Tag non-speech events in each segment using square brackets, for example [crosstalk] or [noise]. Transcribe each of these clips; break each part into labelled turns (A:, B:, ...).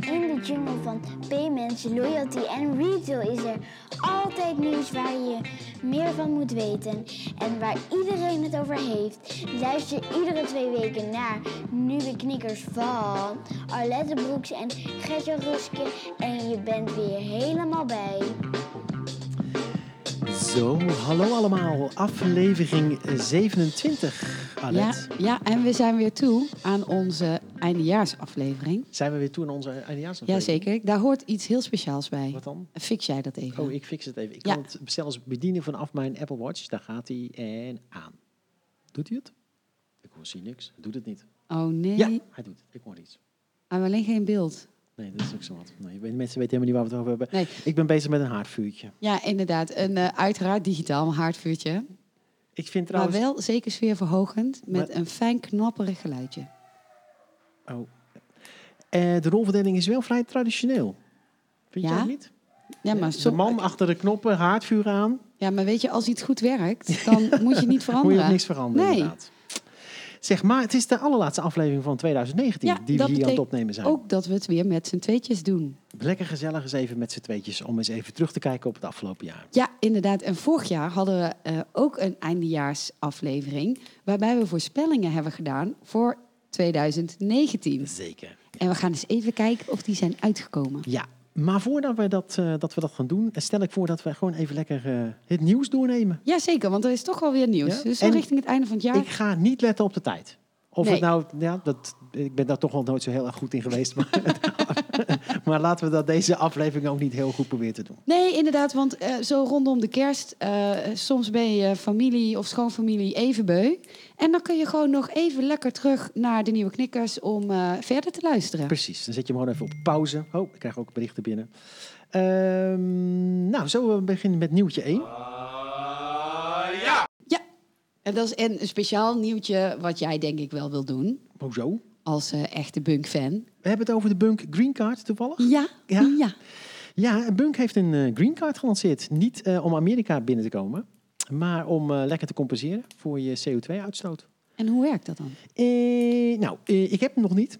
A: In de jungle van payments, loyalty en retail is er altijd nieuws waar je meer van moet weten en waar iedereen het over heeft. Luister iedere twee weken naar nieuwe knikkers van Arlette Broeks en Gertje Ruske en je bent weer helemaal bij.
B: Zo, hallo allemaal. Aflevering 27,
C: Ja,
B: Alet.
C: ja, en we zijn weer toe aan onze eindejaarsaflevering.
B: Zijn we weer toe aan onze eindejaarsaflevering?
C: Jazeker, daar hoort iets heel speciaals bij.
B: Wat dan?
C: Fix jij dat even?
B: Oh, ik fix het even. Ik
C: Ja.
B: kan het zelfs bedienen vanaf mijn Apple Watch. Daar gaat hij en aan. Doet hij het? Ik hoor zie niks. Hij doet het niet.
C: Oh, nee,
B: Ja, hij doet het. Ik hoor iets.
C: Ah, alleen geen beeld.
B: Nee, dat is ook zo wat. Nee, mensen weten helemaal niet waar we het over hebben.
C: Nee.
B: Ik ben bezig met een haardvuurtje.
C: Ja, inderdaad, een eh, uiteraard digitaal haardvuurtje.
B: Ik vind trouwens...
C: Maar wel zeker sfeerverhogend met
B: Maar-
C: een fijn knapperig geluidje.
B: Oh. Eh, de rolverdeling is wel vrij traditioneel. Vind
C: Ja?
B: jij het niet?
C: Ja, maar,
B: de
C: som-
B: man achter de knoppen, haardvuur aan.
C: ja, maar weet je, als iets goed werkt, dan moet je niet
B: [laughs] Moet
C: veranderen.
B: je ook niks veranderen,
C: Nee.
B: inderdaad. Zeg maar, het is de allerlaatste aflevering van 2019
C: Ja,
B: die we
C: dat
B: hier aan het
C: betekent
B: opnemen zijn.
C: Ook dat we het weer met z'n tweetjes doen.
B: Lekker gezellig eens even met z'n tweetjes om eens even terug te kijken op het afgelopen jaar.
C: Ja, inderdaad. En vorig jaar hadden we eh, ook een eindejaarsaflevering. waarbij we voorspellingen hebben gedaan voor 2019.
B: Zeker.
C: En we gaan eens even kijken of die zijn uitgekomen.
B: Ja, maar voordat we dat, eh, dat, we dat gaan doen, eh, stel ik voor dat we gewoon even lekker eh, het nieuws doornemen.
C: Jazeker, want er is toch wel weer nieuws.
B: Ja,
C: Dus zo
B: en
C: richting het einde van het jaar.
B: Ik ga niet letten op de tijd. Of
C: Nee.
B: het nou, ja, dat, ik ben daar toch wel nooit zo heel erg goed in geweest. [laughs] Maar, maar laten we dat deze aflevering ook niet heel goed proberen te doen.
C: Nee, inderdaad, want eh, zo rondom de kerst. eh, soms ben je familie of schoonfamilie even beu. En dan kun je gewoon nog even lekker terug naar de nieuwe knikkers om eh, verder te luisteren.
B: Precies, dan zet je hem gewoon even op pauze. Oh, ik krijg ook berichten binnen. Ehm, nou, zullen we beginnen met nieuwtje 1?
C: Ja, en dat is een speciaal nieuwtje wat jij denk ik wel wil doen.
B: Hoezo?
C: als eh, echte Bunk-fan.
B: We hebben het over de Bunk Green Card toevallig.
C: Ja,
B: Ja?
C: ja.
B: Ja, en Bunk heeft een eh, Green Card gelanceerd. Niet eh, om Amerika binnen te komen, maar om eh, lekker te compenseren voor je CO2-uitstoot.
C: En hoe werkt dat
B: [laughs]
C: dan?
B: Eh, nou, eh, ik heb hem nog niet.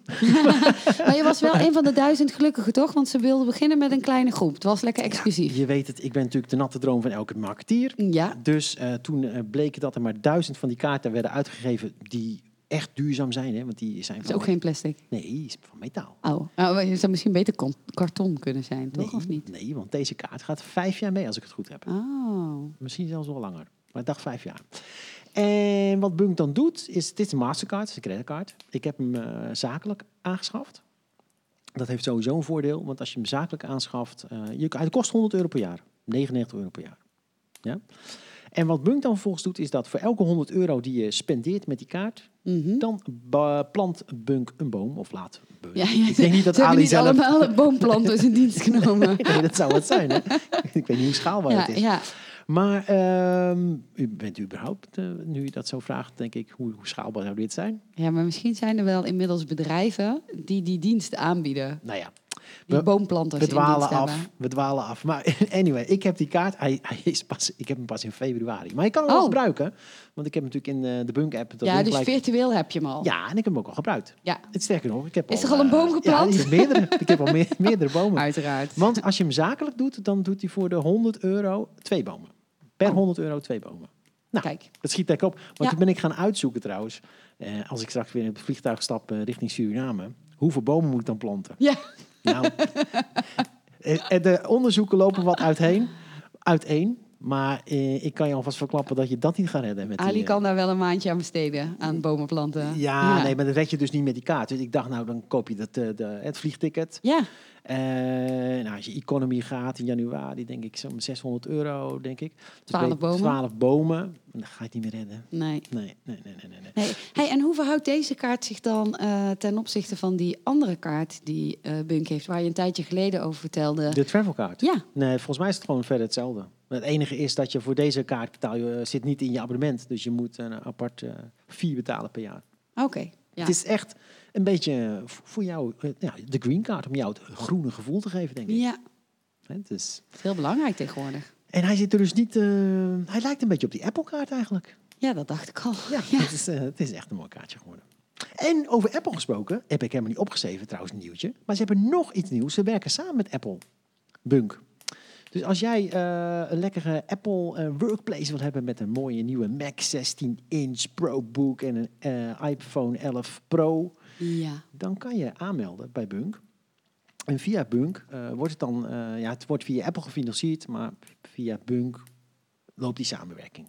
C: Maar je was wel een van de duizend gelukkigen, toch? Want ze wilden beginnen met een kleine groep. Het was lekker exclusief.
B: Je weet het, ik ben natuurlijk de natte droom van elke marketeer.
C: Ja,
B: Dus eh, toen eh, bleek dat er maar duizend van die kaarten werden uitgegeven die echt duurzaam zijn. Hè? Want die zijn
C: het
B: van,
C: is ook geen plastic.
B: nee, die is van metaal.
C: Oh, nou, je zou misschien beter kon- karton kunnen zijn, toch?
B: Nee,
C: Of niet?
B: Nee, want deze kaart gaat vijf jaar mee als ik het goed heb.
C: Oh,
B: Misschien zelfs wel langer. Maar ik dacht vijf jaar. En wat Bunk dan doet, is dit is een Mastercard, het is een creditcard. Ik heb hem eh, zakelijk aangeschaft. Dat heeft sowieso een voordeel, want als je hem zakelijk aanschaft, eh je, het kost 100 euro per jaar, 99 euro per jaar. Ja? En wat Bunk dan vervolgens doet, is dat voor elke 100 euro die je spendeert met die kaart,
C: Mhm.
B: dan ba- plant Bunk een boom of laat. Bunk.
C: Ja, ja,
B: Ik denk niet dat
C: ze hebben
B: Ali
C: niet
B: zelf.
C: allemaal de boomplanters in
B: [laughs]
C: dienst genomen.
B: Nee, dat zou het
C: [laughs]
B: zijn. Hè? ik weet niet hoe schaalbaar
C: Ja,
B: het is.
C: ja.
B: Maar ehm, u bent u überhaupt, eh, nu je dat zo vraagt, denk ik, hoe, hoe schaalbaar zou dit zijn?
C: ja, maar misschien zijn er wel inmiddels bedrijven die die diensten aanbieden.
B: Nou ja,
C: Die
B: We-
C: boomplanters
B: we
C: in dienst
B: dwalen af.
C: hebben.
B: We dwalen af. Maar [laughs] anyway, ik heb die kaart. Hij, hij is pas, ik heb hem pas in februari. Maar ik kan hem al
C: Oh.
B: gebruiken. Want ik heb hem natuurlijk in eh, de Bunk-app. dat
C: Ja,
B: ding
C: dus
B: gelijk-
C: virtueel heb je hem al.
B: Ja, en ik heb hem ook al gebruikt.
C: ja
B: Het sterker nog, ik heb
C: Is er al een
B: eh,
C: boom geplant?
B: Ja,
C: [laughs]
B: meerdere. ik heb al meer- meerdere bomen.
C: uiteraard.
B: Want als je hem zakelijk doet, dan doet hij voor de 100 euro twee bomen. Per
C: Oh.
B: 100 euro twee bomen. Nou,
C: Kijk.
B: Dat schiet lekker op. Want
C: Ja.
B: toen ben ik gaan uitzoeken trouwens. eh, als ik straks weer in het vliegtuig stap eh, richting Suriname. Hoeveel bomen moet ik dan planten?
C: Ja. [laughs]
B: Nou, eh, eh, de onderzoeken lopen wat uiteen. uiteen maar eh, ik kan je alvast verklappen dat je dat niet gaat redden. Met die,
C: Ali
B: eh,
C: kan daar wel een maandje aan besteden, aan bomen planten.
B: Ja, nee, maar dat red je dus niet met die kaart. Dus ik dacht, nou, dan koop je dat, eh, de, het vliegticket.
C: Ja,
B: Eh, nou, als je economy gaat in januari, denk ik zo'n 600 euro, denk ik. Dus
C: 12
B: ben je-
C: bomen.
B: 12 bomen. En dan ga je het niet meer redden.
C: nee.
B: Nee, nee, nee, nee, nee. nee.
C: nee. Hey, en hoe verhoudt deze kaart zich dan eh, ten opzichte van die andere kaart die eh, Bunk heeft, waar je een tijdje geleden over vertelde?
B: De travelkaart.
C: Ja,
B: Nee, volgens mij is het gewoon verder hetzelfde. Het enige is dat je voor deze kaart betaal je, eh, zit niet in je abonnement. Dus je moet een apart eh fee betalen per jaar.
C: oké. Ja.
B: Het is echt een beetje eh, v- voor jou, eh, ja, de green card, om jou het groene gevoel te geven, denk ik.
C: ja,
B: Hè, het is-
C: het is heel belangrijk tegenwoordig.
B: En hij zit er dus niet, eh, hij lijkt een beetje op die Apple kaart eigenlijk.
C: Ja, dat dacht ik al.
B: Ja,
C: Ja.
B: [laughs] Het, is, eh, het is echt een mooi kaartje geworden. En over Apple gesproken, heb ik helemaal niet opgeschreven trouwens, een nieuwtje. Maar ze hebben nog iets nieuws. Ze werken samen met Apple. Bunk. Dus als jij eh, een lekkere Apple eh, workplace wil hebben met een mooie nieuwe Mac 16 inch ProBook en een eh, iPhone 11 Pro,
C: Ja.
B: dan kan je aanmelden bij Bunk. En via Bunk eh, wordt het dan, eh, ja, het wordt via Apple gefinancierd, maar via Bunk loopt die samenwerking.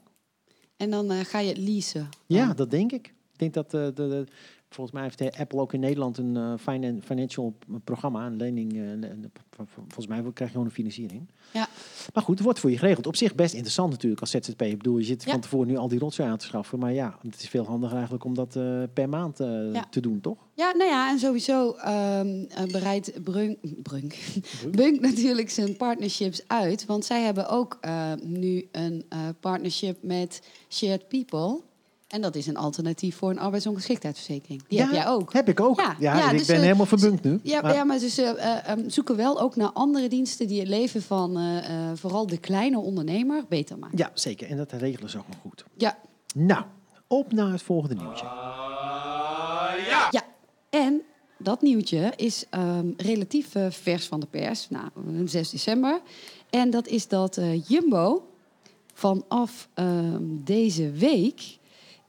C: En dan eh, ga je het leasen.
B: Ja, dat denk ik. Ik denk dat eh, de, de- volgens mij heeft eh, Apple ook in Nederland een eh, finan- financial programma, een lening. eh, le- le- vol- vol- volgens mij krijg je gewoon een financiering.
C: Ja.
B: Maar goed, het wordt voor je geregeld. Op zich best interessant natuurlijk als ZZP. Ik bedoel, je zit
C: Ja.
B: van tevoren nu al die rotzooi aan te schaffen. Maar ja, het is veel handiger eigenlijk om dat eh, per maand eh,
C: Ja.
B: te doen, toch?
C: Ja, nou ja, en sowieso ehm eh, bereidt Brunk, Brunk, Bunk natuurlijk zijn partnerships uit. Want zij hebben ook eh, nu een eh, partnership met Shared People. En dat is een alternatief voor een arbeidsongeschiktheidsverzekering. Die
B: Ja,
C: heb jij ook.
B: Heb ik ook. Ja,
C: Ja, ja,
B: ik
C: dus,
B: ben
C: eh,
B: helemaal verbunkt nu.
C: Ja,
B: Maar-
C: maar, ja, maar dus, eh, eh, ehm, zoeken wel ook naar andere diensten die het leven van eh, eh, vooral de kleine ondernemer beter maken.
B: ja, zeker. En dat regelen ze ook nog goed.
C: Ja,
B: Nou, op naar het volgende nieuwtje.
C: Ja, en dat nieuwtje is ehm, relatief eh, vers van de pers. Nou, 6 december. En dat is dat eh, Jumbo vanaf ehm, deze week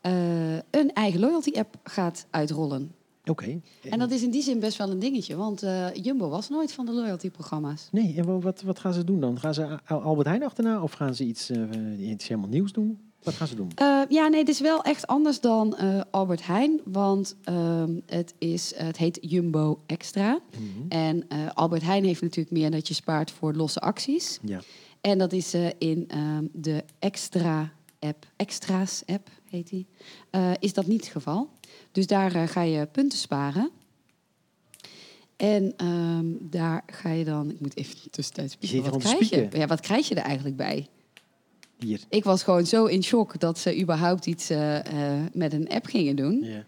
C: eh, een eigen loyalty-app gaat uitrollen.
B: Oké.
C: En dat is in die zin best wel een dingetje, want eh, Jumbo was nooit van de loyalty-programma's.
B: Nee, en wa- wat, wat gaan ze doen dan? Gaan ze Al- Albert Heijn achterna of gaan ze iets, eh, iets helemaal nieuws doen? Wat gaan ze doen?
C: Eh, ja, nee, het is wel echt anders dan eh, Albert Heijn, want ehm, het, is, het heet Jumbo Extra. En eh, Albert Heijn heeft natuurlijk meer dat je spaart voor losse acties.
B: Ja.
C: En dat is eh, in ehm, de extra app, extra's app heet die, eh, is dat niet het geval. Dus daar eh, ga je punten sparen. En ehm, daar ga je dan, ik moet even tussentijds
B: Je zit
C: spieken.
B: gewoon
C: Wat
B: te
C: krijg je?
B: spieken.
C: Ja, wat krijg je er eigenlijk bij?
B: Hier.
C: Ik was gewoon zo in shock dat ze überhaupt iets eh, eh, met een app gingen doen.
B: Ja.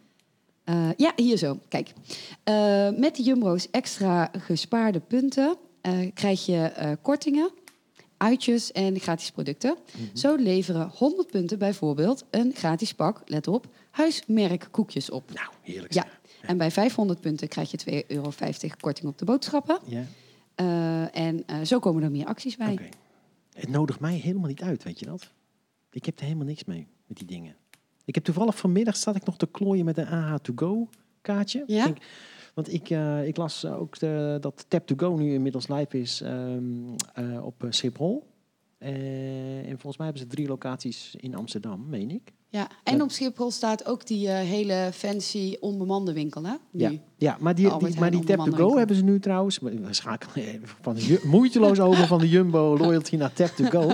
C: Eh, ja, hier zo. Kijk. Eh, met de Jumbo's extra gespaarde punten eh, krijg je eh, kortingen, uitjes en gratis producten.
B: Mhm.
C: Zo leveren 100 punten bijvoorbeeld een gratis pak, let op, huismerkkoekjes op.
B: Nou, heerlijk.
C: Ja.
B: zeg.
C: En bij 500 punten krijg je 2,50 euro korting op de boodschappen.
B: ja?
C: Eh, en eh, zo komen er meer acties bij.
B: Oké. Het nodigt mij helemaal niet uit, weet je dat? Ik heb er helemaal niks mee met die dingen. Ik heb toevallig vanmiddag zat ik nog te klooien met een AH2Go kaartje.
C: Ja?
B: Ik denk- want ik, eh, ik las eh, ook de- dat Tap2Go nu inmiddels live is ehm, eh, op eh, Schiphol. Eh, en volgens mij hebben ze drie locaties in Amsterdam, meen ik.
C: Ja.
B: Ja.
C: En op Schiphol staat ook die eh, hele fancy onbemande winkel, hè? Nu.
B: Ja, ja maar die,
C: Albert
B: die, maar die
C: Heijn
B: Tap to
C: onderhandelen.
B: Go hebben ze nu trouwens. Maar We schakelen even van de ju- moeiteloos over van de Jumbo loyalty naar Tap to
C: [laughs]
B: Go.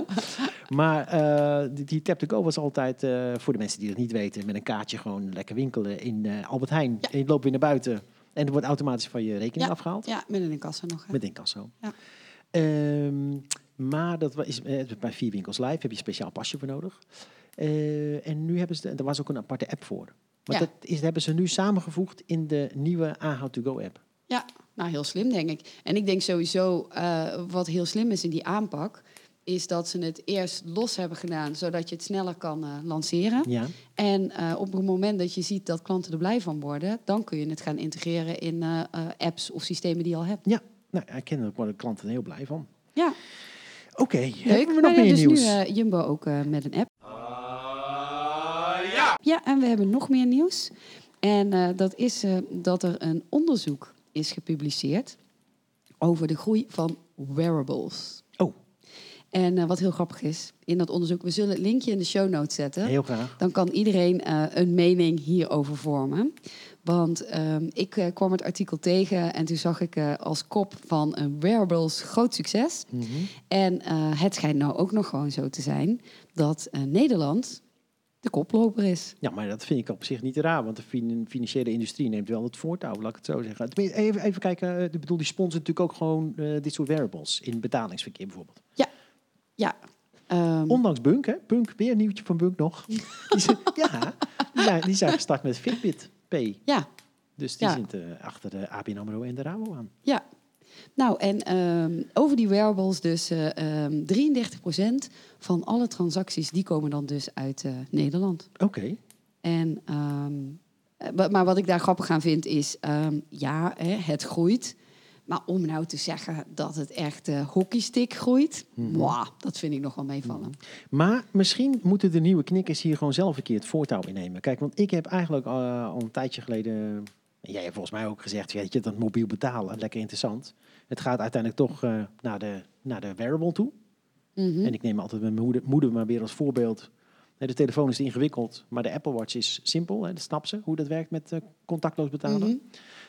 B: Maar eh, die, die Tap to Go was altijd, eh, voor de mensen die dat niet weten, met een kaartje gewoon lekker winkelen in eh, Albert Heijn.
C: Ja.
B: En je loopt weer naar buiten en er wordt automatisch van je rekening
C: Ja.
B: afgehaald.
C: Ja, met een kassa nog. hè?
B: Met incasso.
C: Ja.
B: Ehm, maar dat wa- is, eh, bij vier winkels live heb je een speciaal pasje voor nodig. Eh, en nu hebben ze, de- er was ook een aparte app voor. Maar
C: Ja.
B: dat is, hebben ze nu samengevoegd in de nieuwe AH2Go app.
C: Ja, nou heel slim denk ik. En ik denk sowieso eh, wat heel slim is in die aanpak, is dat ze het eerst los hebben gedaan, zodat je het sneller kan eh, lanceren.
B: Ja,
C: En eh, op het moment dat je ziet dat klanten er blij van worden, dan kun je het gaan integreren in eh, eh, apps of systemen die je al hebt.
B: ja. Nou, ik ken er worden klanten heel blij van.
C: Ja,
B: Oké,
C: leuk.
B: hebben we nog
C: Maar ja,
B: meer
C: dus
B: nieuws?
C: nu eh, Jumbo ook eh, met een app. ja. ja, en we hebben nog meer nieuws. En eh, dat is eh, dat er een onderzoek is gepubliceerd over de groei van wearables.
B: oh,
C: En eh, wat heel grappig is, in dat onderzoek, we zullen het linkje in de show notes zetten.
B: heel graag.
C: Dan kan iedereen eh, een mening hierover vormen. Want ehm, ik eh, kwam het artikel tegen en toen zag ik eh, als kop van eh, wearables groot succes.
B: Mhm.
C: En eh, het schijnt nou ook nog gewoon zo te zijn dat eh, Nederland de koploper is.
B: Ja, maar dat vind ik op zich niet raar, want de fin- financiële industrie neemt wel het voortouw, laat ik het zo zeggen. Tenminste, Even, even kijken, eh, ik bedoel, die sponsoren natuurlijk ook gewoon eh, dit soort wearables in betalingsverkeer bijvoorbeeld.
C: Ja. Ehm,
B: Ondanks Bunk, hè? Bunk, weer een nieuwtje van Bunk nog. [laughs] Die zijn, ja, die zijn, die zijn gestart met Fitbit P.
C: ja,
B: Dus die
C: Ja.
B: zitten eh, achter de ABN AMRO en de Rabo aan.
C: ja. Nou, en ehm, over die wearables dus eh, ehm, 33% van alle transacties... die komen dan dus uit eh, Nederland.
B: Oké.
C: En ehm, Eh, wa- maar wat ik daar grappig aan vind is, ehm, ja, hè, het groeit. Maar om nou te zeggen dat het echt eh hockeystick groeit, mwah, dat vind ik nog wel meevallen.
B: Maar misschien moeten de nieuwe knikkers hier gewoon zelf een keer het voortouw innemen. Kijk, want ik heb eigenlijk eh, al een tijdje geleden... en Jij hebt volgens mij ook gezegd, weet je, dat mobiel betalen, lekker interessant. Het gaat uiteindelijk toch eh, naar, de, naar de wearable toe.
C: Mhm.
B: En ik neem altijd mijn moeder, moeder maar weer als voorbeeld. Nee, De telefoon is ingewikkeld, maar de Apple Watch is simpel. Hè? Dat snapt ze, hoe dat werkt met eh, contactloos betalen.
C: Mhm.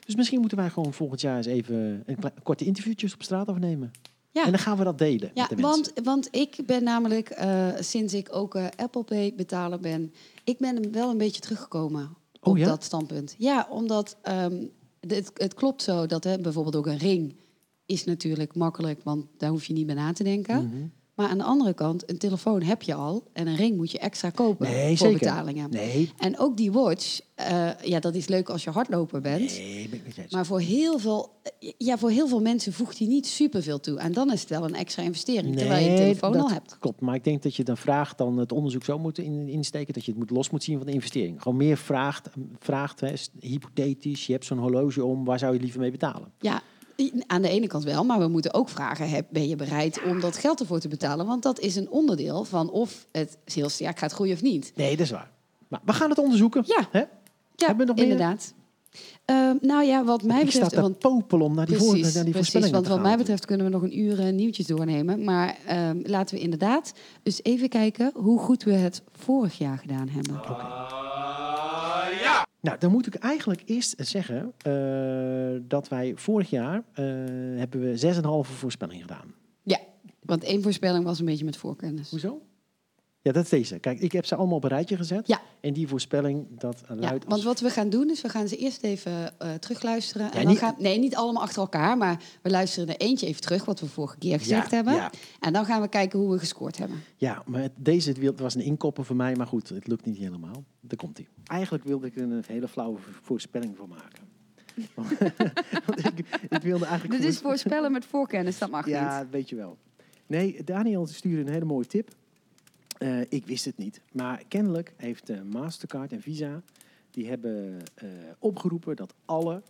B: Dus misschien moeten wij gewoon volgend jaar eens even een kle- korte interviewtjes op straat afnemen.
C: Ja.
B: En dan gaan we dat delen
C: Ja,
B: met de mensen.
C: want, want ik ben namelijk, eh, sinds ik ook eh, Apple Pay betaler ben, ik ben hem wel een beetje teruggekomen
B: Oh
C: op
B: ja?
C: dat standpunt. Ja, omdat ehm, de- het, het klopt zo dat hè, bijvoorbeeld ook een ring is natuurlijk makkelijk, want daar hoef je niet bij na te denken.
B: Mhm.
C: Maar aan de andere kant, een telefoon heb je al en een ring moet je extra kopen
B: Nee,
C: voor
B: zeker.
C: betalingen.
B: Nee,
C: En ook die watch, eh, ja, dat is leuk als je hardloper bent.
B: nee, ben ik met je eens.
C: Maar voor heel, veel, ja, voor heel veel mensen voegt die niet superveel toe. En dan is het wel een extra investering, terwijl je een
B: Nee,
C: telefoon
B: dat
C: al hebt.
B: Klopt, maar ik denk dat je dan vraagt dan het onderzoek zo moet in- insteken dat je het moet los moet zien van de investering. Gewoon meer vraagt, vraagt hè, s- hypothetisch, je hebt zo'n horloge om, waar zou je liever mee betalen?
C: Ja, i- aan de ene kant wel, maar we moeten ook vragen: heb, ben je bereid om dat geld ervoor te betalen? Want dat is een onderdeel van of het heel sterk gaat groeien of niet.
B: Nee, dat is waar. Maar we gaan het onderzoeken.
C: Ja.
B: Hè?
C: Ja,
B: Hebben we nog meer?
C: inderdaad. Ehm, nou ja, wat mij
B: ik sta
C: betreft.
B: te
C: Want,
B: popelen om naar die, voor,
C: precies,
B: naar die
C: precies,
B: voorspellingen
C: want
B: te
C: wat
B: gaan.
C: mij betreft kunnen we nog een uur eh, nieuwtjes doornemen. Maar ehm, laten we inderdaad eens even kijken hoe goed we het vorig jaar gedaan hebben.
B: Nou, dan moet ik eigenlijk eerst zeggen eh, dat wij vorig jaar eh, hebben we 6,5 voorspelling gedaan.
C: Ja, want één voorspelling was een beetje met voorkennis.
B: Hoezo? Ja, dat is deze. Kijk, ik heb ze allemaal op een rijtje gezet.
C: Ja.
B: En die voorspelling, dat eh,
C: Ja,
B: luidt
C: want
B: als...
C: wat we gaan doen is, we gaan ze eerst even eh, terugluisteren. en
B: Ja,
C: dan
B: niet-
C: gaan, nee, niet allemaal achter elkaar, maar we luisteren er eentje even terug, wat we vorige keer gezegd hebben.
B: ja.
C: En dan gaan we kijken hoe we gescoord hebben.
B: Ja, maar het- deze wiel- was een inkoppen voor mij, maar goed, het lukt niet helemaal. Daar komt hij. Eigenlijk wilde ik er een hele flauwe vo- voorspelling voor maken. [laughs] Want ik, ik wilde eigenlijk...
C: Dit is voorspellen met voorkennis, dat mag
B: Ja,
C: niet.
B: weet je wel. Nee, Daniel stuurde een hele mooie tip. Eh, ik wist het niet. Maar kennelijk heeft eh, Mastercard en Visa... die hebben eh, opgeroepen dat alle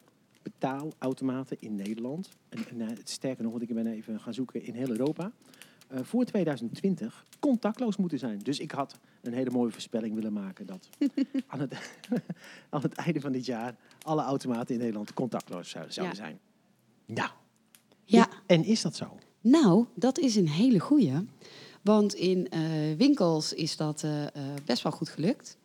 B: betaalautomaten in Nederland... en, en, eh, sterker nog, want ik ben even gaan zoeken in heel Europa... eh, voor 2020 contactloos moeten zijn. Dus ik had een hele mooie voorspelling willen maken...
C: [laughs]
B: dat aan, het, [laughs] aan het einde van dit jaar... alle automaten in Nederland contactloos zouden, zouden
C: Ja.
B: zijn. Nou,
C: Ja,
B: en is dat zo?
C: nou, dat is een hele goeie. Want in eh, winkels is dat eh, eh, best wel goed gelukt.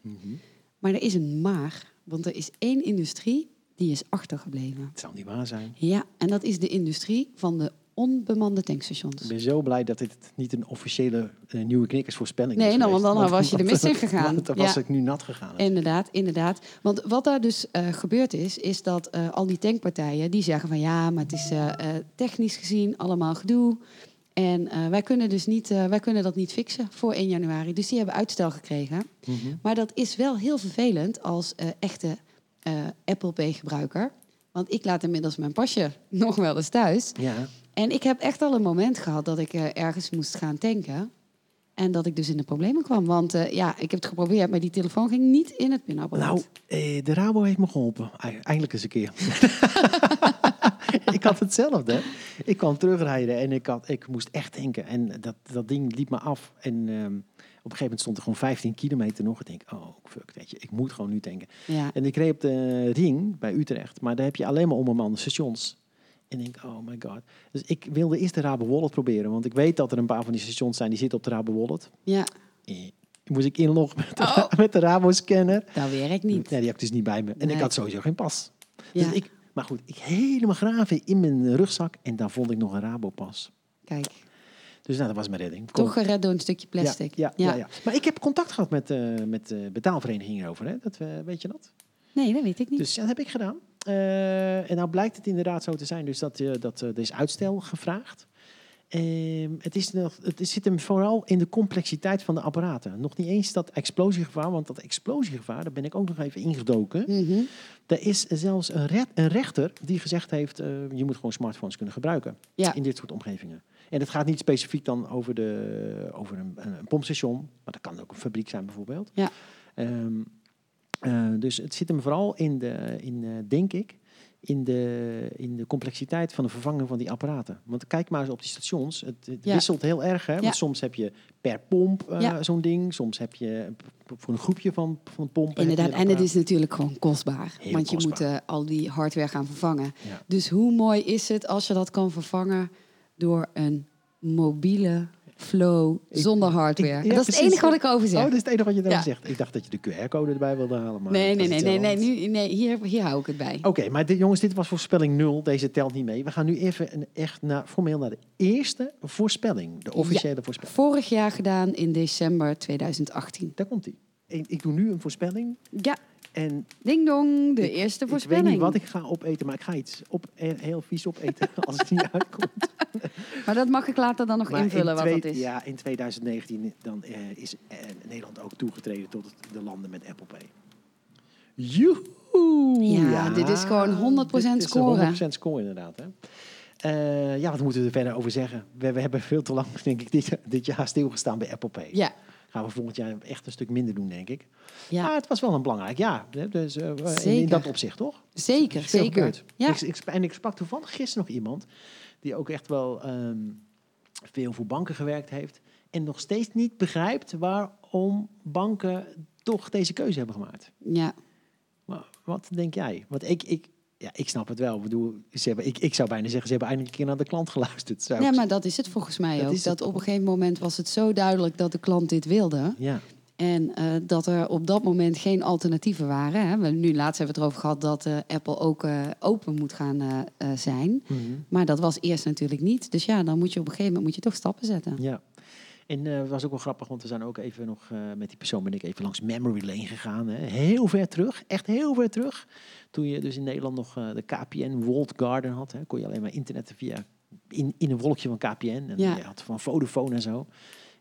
C: Maar er is een maar, want er is één industrie die is achtergebleven.
B: Het zou niet waar zijn.
C: Ja, en dat is de industrie van de onbemande tankstations.
B: Ik ben zo blij dat dit niet een officiële eh, nieuwe knikkersvoorspelling
C: Nee,
B: is.
C: nou,
B: geweest.
C: want dan was je er mis
B: [laughs]
C: in
B: want-
C: gegaan.
B: want Dan was
C: Ja.
B: ik nu nat gegaan.
C: Inderdaad, inderdaad. Want wat daar dus eh, gebeurd is, is dat eh, al die tankpartijen die zeggen van ja, maar het is eh, eh, technisch gezien allemaal gedoe. En eh, wij kunnen dus niet, eh, wij kunnen dat niet fixen voor 1 januari. Dus die hebben uitstel gekregen.
B: Mhm.
C: Maar dat is wel heel vervelend als eh, echte eh, Apple Pay gebruiker. Want ik laat inmiddels mijn pasje [laughs] nog wel eens thuis.
B: Ja,
C: En ik heb echt al een moment gehad dat ik eh, ergens moest gaan tanken. En dat ik dus in de problemen kwam. Want eh, ja, ik heb het geprobeerd, maar die telefoon ging niet in het pinapparaat.
B: nou, eh, de Rabo heeft me geholpen. Ei- Eindelijk eens een
C: [laughs]
B: keer. ik had hetzelfde. Ik kwam terugrijden en ik, had, ik moest echt denken. En dat, dat ding liep me af. En ehm, op een gegeven moment stond er gewoon 15 kilometer nog. Ik denk, oh fuck, weet je, ik moet gewoon nu denken.
C: Ja.
B: En ik reed op de ring bij Utrecht, maar daar heb je alleen maar onbemande stations. En ik denk, oh my god. Dus ik wilde eerst de Rabo Wallet proberen, want ik weet dat er een paar van die stations zijn die zitten op de Rabo Wallet.
C: ja,
B: Eh, Moest ik inloggen met de, [laughs] met de Rabo-scanner.
C: dat werkt
B: Nee,
C: Oh. niet.
B: die had ik dus niet bij me. En
C: Nee.
B: ik had sowieso geen pas.
C: Ja.
B: Dus ik, maar goed, ik helemaal graven in mijn rugzak en daar vond ik nog een Rabo-pas.
C: Kijk,
B: Dus nou, dat was mijn redding. Kon-
C: toch gered door een stukje plastic.
B: Ja, ja, ja. ja. Maar ik heb contact gehad met, eh met de betaalvereniging hierover. Hè? Dat, eh, weet je dat?
C: Nee, dat weet ik niet.
B: Dus ja, dat heb ik gedaan. Eh, en nou blijkt het inderdaad zo te zijn, dus dat, eh, dat eh, er is uitstel gevraagd. Ehm, het, is nog, het is- zit hem vooral in de complexiteit van de apparaten. Nog niet eens dat explosiegevaar, want dat explosiegevaar, daar ben ik ook nog even ingedoken.
C: Mhm.
B: Er is zelfs een, re- een rechter die gezegd heeft, eh, je moet gewoon smartphones kunnen gebruiken
C: Ja.
B: in dit soort omgevingen. En het gaat niet specifiek dan over, de, over een, een, een pompstation, maar dat kan ook een fabriek zijn bijvoorbeeld.
C: Ja.
B: Ehm, Eh, dus het zit hem vooral in, de, in eh, denk ik, in de, in de complexiteit van de vervanging van die apparaten. Want kijk maar eens op die stations. Het, het
C: Ja.
B: wisselt heel erg. Hè? Want
C: Ja.
B: soms heb je per pomp eh,
C: Ja.
B: zo'n ding. Soms heb je voor een groepje van, van pompen. heb je
C: Inderdaad,
B: een
C: en het
B: apparaat.
C: is natuurlijk gewoon kostbaar.
B: Heel
C: want je
B: kostbaar.
C: moet eh, al die hardware gaan vervangen.
B: Ja.
C: Dus hoe mooi is het als je dat kan vervangen door een mobiele flow
B: Ik-
C: zonder hardware?
B: ja,
C: dat is
B: precies.
C: het enige wat ik over zeg.
B: Oh, dat is het enige wat je daarover
C: Ja.
B: zegt. Ik dacht dat je de QR-code erbij wilde halen. Maar
C: nee,
B: dat
C: nee,
B: is
C: nee,
B: iets heel
C: nee,
B: Oh.
C: nee,
B: anders.
C: nu, nee hier, hier hou ik het bij.
B: Oké, maar dit, jongens, dit was voorspelling 0. Deze telt niet mee. We gaan nu even een, echt naar, formeel naar de eerste voorspelling. De officiële voorspelling.
C: Vorig jaar gedaan in december 2018.
B: Daar komt ie. Ik, ik doe nu een voorspelling.
C: Ja,
B: En
C: ding dong, de eerste voorspelling.
B: Ik weet niet wat ik ga opeten, maar ik ga iets op, heel vies opeten [laughs] als het niet uitkomt.
C: Maar dat mag ik later dan nog
B: Maar in
C: invullen wat
B: twee-
C: dat is.
B: Ja, in 2019 dan, eh, is eh, Nederland ook toegetreden tot het- de landen met Apple Pay. Joehoe!
C: Ja, dit is gewoon 100%
B: dit is een
C: scoren.
B: 100% score inderdaad. Hè? Eh, ja, wat moeten we er verder over zeggen? We, we hebben veel te lang, [laughs] denk ik, dit, dit jaar stilgestaan bij Apple Pay.
C: Ja,
B: Gaan we volgend jaar echt een stuk minder doen, denk ik.
C: Ja.
B: Maar het was wel een belangrijk jaar. hè, Dus, eh, in- in
C: Zeker.
B: dat opzicht, toch?
C: zeker,
B: Is veel
C: zeker.
B: gebeurd.
C: Ja.
B: Ik, ik- en ik sprak toevallig gisteren nog iemand die ook echt wel ehm, veel voor banken gewerkt heeft. En nog steeds niet begrijpt waarom banken toch deze keuze hebben gemaakt.
C: ja,
B: Maar wat denk jij? Want ik, ik, ja, ik snap het wel. Ik, bedoel, ze hebben, ik, ik zou bijna zeggen, ze hebben eindelijk een keer naar de klant geluisterd. Zou ik
C: Ja, maar
B: zeggen.
C: dat is het volgens mij
B: Dat
C: ook.
B: is het.
C: Dat op een gegeven moment was het zo duidelijk dat de klant dit wilde.
B: ja.
C: En eh, dat er op dat moment geen alternatieven waren. Hè. We, nu laatst hebben we het erover gehad dat eh, Apple ook eh, open moet gaan eh, eh, zijn.
B: Mhm.
C: Maar dat was eerst natuurlijk niet. Dus ja, dan moet je op een gegeven moment moet je toch stappen zetten.
B: Ja. En eh, het was ook wel grappig, want we zijn ook even nog eh, met die persoon ben ik even langs memory lane gegaan. Hè. Heel ver terug, echt heel ver terug. Toen je dus in Nederland nog eh, de KPN World Garden had, hè, kon je alleen maar internetten via in, in een wolkje van KPN. En
C: Ja.
B: je had van Vodafone en zo.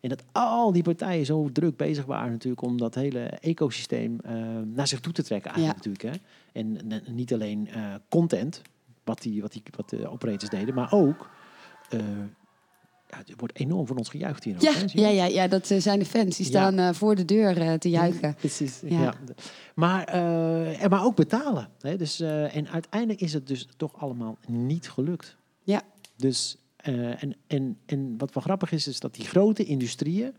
B: En dat al die partijen zo druk bezig waren natuurlijk om dat hele ecosysteem eh, naar zich toe te trekken eigenlijk natuurlijk. Hè. En, en niet alleen eh, content, wat, die, wat, die, wat de operators deden, maar ook... eh, ja, het wordt enorm voor ons gejuicht hier. ook,
C: Ja,
B: hè, zie je?
C: ja, ja, ja dat eh, zijn de fans. Die
B: Ja.
C: staan eh, voor de deur eh, te juichen.
B: [laughs] Precies. Ja.
C: Ja.
B: Maar, eh, en maar ook betalen. Hè? Dus, eh, en uiteindelijk is het dus toch allemaal niet gelukt.
C: Ja.
B: Dus, eh, en, en, en wat wel grappig is, is dat die grote industrieën,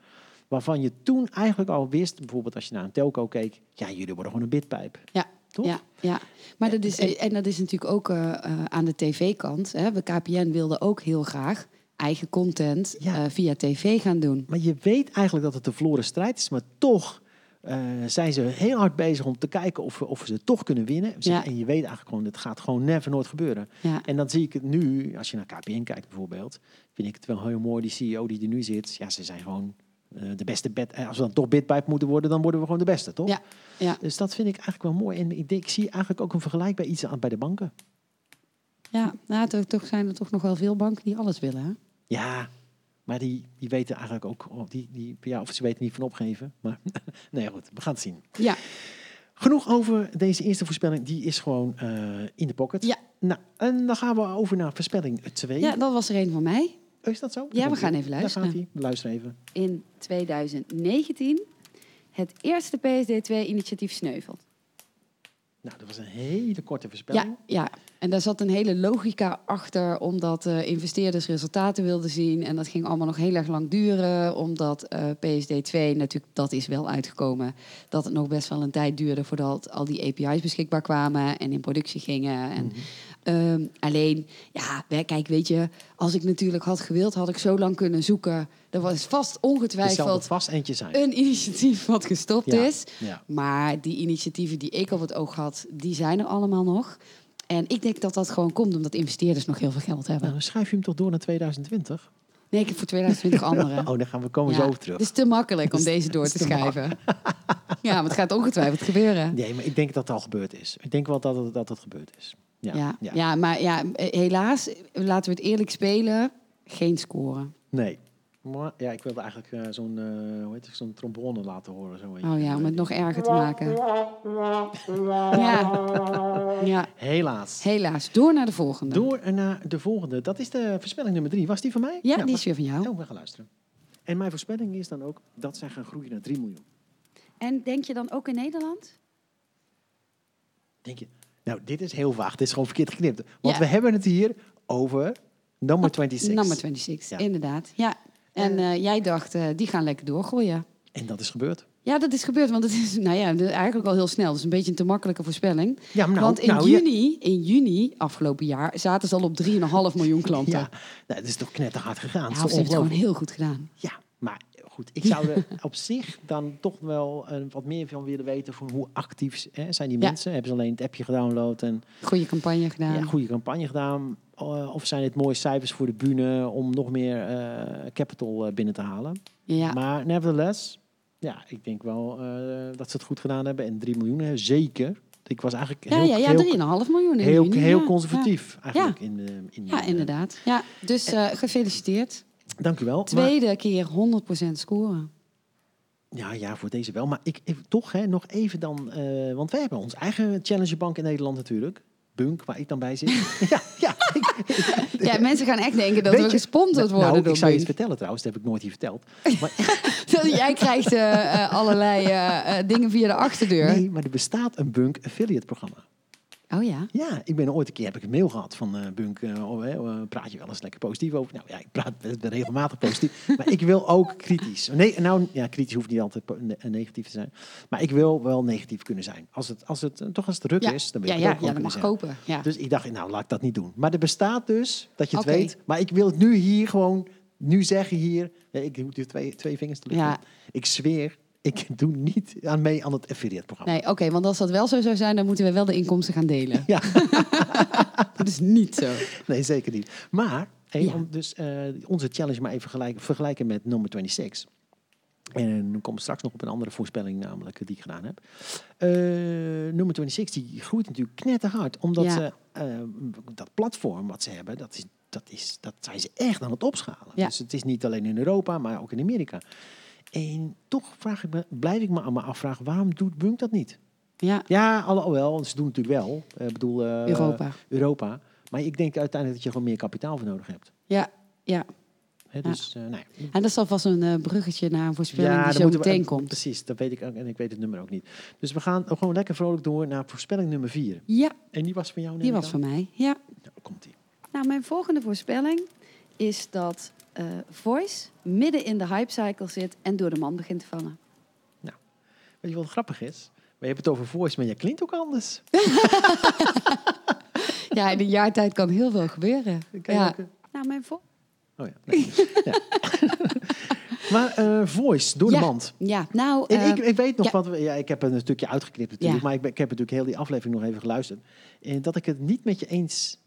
B: waarvan je toen eigenlijk al wist, bijvoorbeeld als je naar een telco keek, ja, jullie worden gewoon een bidpijp.
C: Ja.
B: Toch? Eh,
C: Ja, ja. Maar dat is, en dat is natuurlijk ook eh, eh, aan de tv-kant. hè. We KPN wilden ook heel graag eigen content
B: Ja.
C: eh, via tv gaan doen.
B: Maar je weet eigenlijk dat het een verloren strijd is, maar toch eh, zijn ze heel hard bezig om te kijken of, we- of we ze toch kunnen winnen. Ze-
C: Ja.
B: En je weet eigenlijk gewoon, het gaat gewoon never nooit gebeuren.
C: Ja.
B: En dan zie ik het nu, als je naar KPN kijkt bijvoorbeeld, vind ik het wel heel mooi, die CEO die er nu zit. Ja, ze zijn gewoon eh, de beste bed. eh, Als we dan toch bidpijp moeten worden, dan worden we gewoon de beste, toch?
C: Ja, ja,
B: Dus dat vind ik eigenlijk wel mooi. En ik, denk- ik zie eigenlijk ook een vergelijk bij iets aan, bij de banken.
C: ja. Nou, toch, toch zijn er toch nog wel veel banken die alles willen. Hè?
B: Ja, maar die, die weten eigenlijk ook, oh, die, die, ja, of ze weten niet van opgeven. Maar [laughs] nee, goed, we gaan het zien.
C: Ja,
B: Genoeg over deze eerste voorspelling. Die is gewoon eh, in de pocket.
C: Ja.
B: Nou, en dan gaan we over naar voorspelling 2.
C: ja, dat was er een van mij.
B: Is dat zo?
C: Ja, we gaan even luisteren.
B: Daar gaat hij. Luister even.
C: In 2019 het eerste PSD2-initiatief sneuvelt.
B: Nou, dat was een hele korte voorspelling.
C: Ja, ja, en daar zat een hele logica achter, omdat eh, investeerders resultaten wilden zien. En dat ging allemaal nog heel erg lang duren, omdat eh, PSD2, natuurlijk, dat is wel uitgekomen. Dat het nog best wel een tijd duurde voordat al die API's beschikbaar kwamen en in productie gingen. En, ehm, alleen, ja, we- kijk, weet je, als ik natuurlijk had gewild, had ik zo lang kunnen zoeken. Er was vast
B: Er zal er
C: ongetwijfeld
B: vast eentje zijn.
C: een dus. initiatief wat gestopt
B: Ja,
C: is.
B: ja.
C: Maar die initiatieven die ik op het oog had, die zijn er allemaal nog. En ik denk dat dat gewoon komt omdat investeerders nog heel veel geld
B: Nou,
C: hebben.
B: dan schrijf je hem toch door naar 2020?
C: Nee, ik heb voor 2020
B: [laughs]
C: anderen.
B: Oh, dan gaan we komen
C: Ja, Dus-
B: zo over terug.
C: Het is te makkelijk om
B: Het is-
C: deze door
B: het
C: te
B: is te
C: schrijven. Ja, maar het gaat ongetwijfeld gebeuren.
B: Nee, maar ik denk dat het al gebeurd is. Ik denk wel dat het, dat het gebeurd is. Ja,
C: Ja, ja, maar ja, eh, helaas, eh, laten we het eerlijk spelen, geen scoren.
B: Nee. Maar, ja, ik wilde eigenlijk eh, zo'n eh, hoe heet het, zo'n trombone laten horen. Zo
C: Oh ja, om het nog erger te maken. Ja, ja
B: Helaas.
C: helaas. Door naar de volgende.
B: Door naar de volgende. Dat is de voorspelling nummer drie. Was die van mij?
C: Ja, die
B: maar-
C: is weer van jou.
B: Oh, we gaan luisteren. En mijn voorspelling is dan ook dat zij gaan groeien naar 3 miljoen.
C: En denk je dan ook in Nederland?
B: denk je, nou, dit is heel vaag. Dit is gewoon verkeerd geknipt. Want
C: Ja.
B: we hebben het hier over nummer 26.
C: Nummer 26,
B: Ja.
C: inderdaad. Ja. En eh, jij dacht, eh, die gaan lekker doorgooien.
B: En dat is gebeurd.
C: Ja, dat is gebeurd, want het is [laughs] nou ja, de- eigenlijk al heel snel. Dat is een beetje een te makkelijke voorspelling.
B: Ja, maar nou,
C: want in,
B: nou, ja.
C: juni, in juni, afgelopen jaar, zaten ze al op 3,5 miljoen klanten.
B: [laughs] Ja, nou, het is toch knetterhard gegaan.
C: Ja,
B: Het is
C: of ze heeft het
B: ongelooflijk.
C: gewoon heel goed gedaan.
B: Ja, maar goed, ik zou
C: [laughs]
B: er op zich dan toch wel eh, wat meer van willen weten van hoe actief z- hè, zijn die
C: Ja.
B: mensen. Hebben ze alleen het appje gedownload en
C: Goede campagne
B: ja.
C: gedaan.
B: goede campagne gedaan? Eh, of zijn het mooie cijfers voor de bühne om nog meer eh, capital eh, binnen te halen?
C: Ja.
B: Maar nevertheless, ja, ik denk wel eh, dat ze het goed gedaan hebben. En 3 miljoen, hè, zeker. Ik was eigenlijk
C: Ja,
B: heel,
C: ja, ja,
B: heel,
C: 3,5 miljoen. in
B: heel,
C: juni,
B: heel
C: ja.
B: conservatief eigenlijk. In, de- in,
C: Ja. Ja,
B: de-
C: inderdaad. Ja, dus eh, gefeliciteerd.
B: Dank u wel. Maar-
C: Tweede keer 100%
B: [laughs]
C: scoren.
B: Ja, ja, voor deze wel. Maar ik, ik- toch hè, nog even dan. eh, want wij hebben ons eigen challengebank in Nederland natuurlijk. Bunk, waar ik dan bij zit. [laughs] ja, ja. Ik,
C: Ja, mensen gaan echt denken [laughs] dat
B: Weet
C: we
B: je-
C: gesponsord worden
B: nou,
C: door
B: ik zou je
C: Bunk.
B: iets vertellen trouwens. Dat heb ik nooit hier verteld.
C: [laughs] Jij krijgt eh, eh, allerlei eh, eh, dingen via de achterdeur.
B: Nee, maar er bestaat een Bunk affiliate programma.
C: Oh ja.
B: Ja, ik ben ooit een keer heb ik een mail gehad van eh, Bunk. eh, oh, hè, eh, praat je wel eens lekker positief over? Nou ja, ik praat best wel regelmatig positief.
C: [laughs]
B: maar ik wil ook kritisch. Nee, nou ja, kritisch hoeft niet altijd po- ne- eh, negatief te zijn. Maar ik wil wel negatief kunnen zijn. Als het, als het eh, toch als het druk
C: Ja,
B: is, dan wil
C: ja,
B: ik het
C: ja,
B: ook
C: ja
B: gewoon
C: dat
B: kunnen
C: mag
B: zeggen.
C: kopen. Ja.
B: Dus ik dacht, nou, laat ik dat niet doen. Maar er bestaat dus, dat je het
C: Oké.
B: weet. Maar ik wil het nu hier gewoon, nu zeggen hier. Ja, ik doe de twee, twee vingers te luchten.
C: Ja.
B: Ik zweer, ik doe niet aan mee aan het affiliate-programma.
C: Nee, oké, want als dat wel zo zou zijn, dan moeten we wel de inkomsten gaan delen.
B: Ja.
C: dat is niet
B: [laughs]
C: zo.
B: Nee, zeker niet. Maar, hey,
C: Ja.
B: om dus eh, onze challenge maar even gelijk, vergelijken met nummer 26. En dan kom ik straks nog op een andere voorspelling, namelijk eh, die ik gedaan heb. Eh nummer 26 die groeit natuurlijk knetterhard, omdat
C: Ja.
B: ze eh, dat platform wat ze hebben, dat, is, dat, is, dat zijn ze echt aan het opschalen.
C: Ja.
B: Dus het is niet alleen in Europa, maar ook in Amerika. En toch vraag ik me, blijf ik me aan me afvragen, waarom doet Bunk dat niet?
C: Ja,
B: Ja, alhoewel, ze doen natuurlijk wel. Eh, Ik bedoel, eh,
C: Europa.
B: Europa. Maar ik denk uiteindelijk dat je gewoon meer kapitaal voor nodig hebt.
C: Ja, ja.
B: Hè,
C: Ja.
B: dus, eh, nou ja.
C: En dat is alvast een eh, bruggetje naar een voorspelling
B: Ja,
C: die
B: dan
C: zo
B: moeten we-
C: meteen
B: eh,
C: komt.
B: Precies, dat weet ik ook. En ik weet het nummer ook niet. Dus we gaan gewoon lekker vrolijk door naar voorspelling nummer 4.
C: Ja,
B: En die was van jou,
C: die was van mij. Ja.
B: Nou, komt die.
C: Nou, mijn volgende voorspelling is dat eh, Voice midden in de hype cycle zit en door de man begint te vallen.
B: Weet je wat grappig is? We hebben het over voice, maar jij klinkt ook anders.
C: Ja, in een jaar tijd kan heel veel gebeuren.
B: Kan je ook, eh,
C: Nou, mijn vol.
B: Oh ja. nee.
C: [laughs]
B: ja. [laughs] maar eh, voice, door
C: Ja.
B: de mand.
C: Ja, nou,
B: En
C: eh,
B: ik, ik weet nog
C: ja.
B: wat we, ja, ik heb een stukje uitgeknipt natuurlijk, maar ik, ben- ik heb natuurlijk heel die aflevering nog even geluisterd. En dat ik het niet met je eens,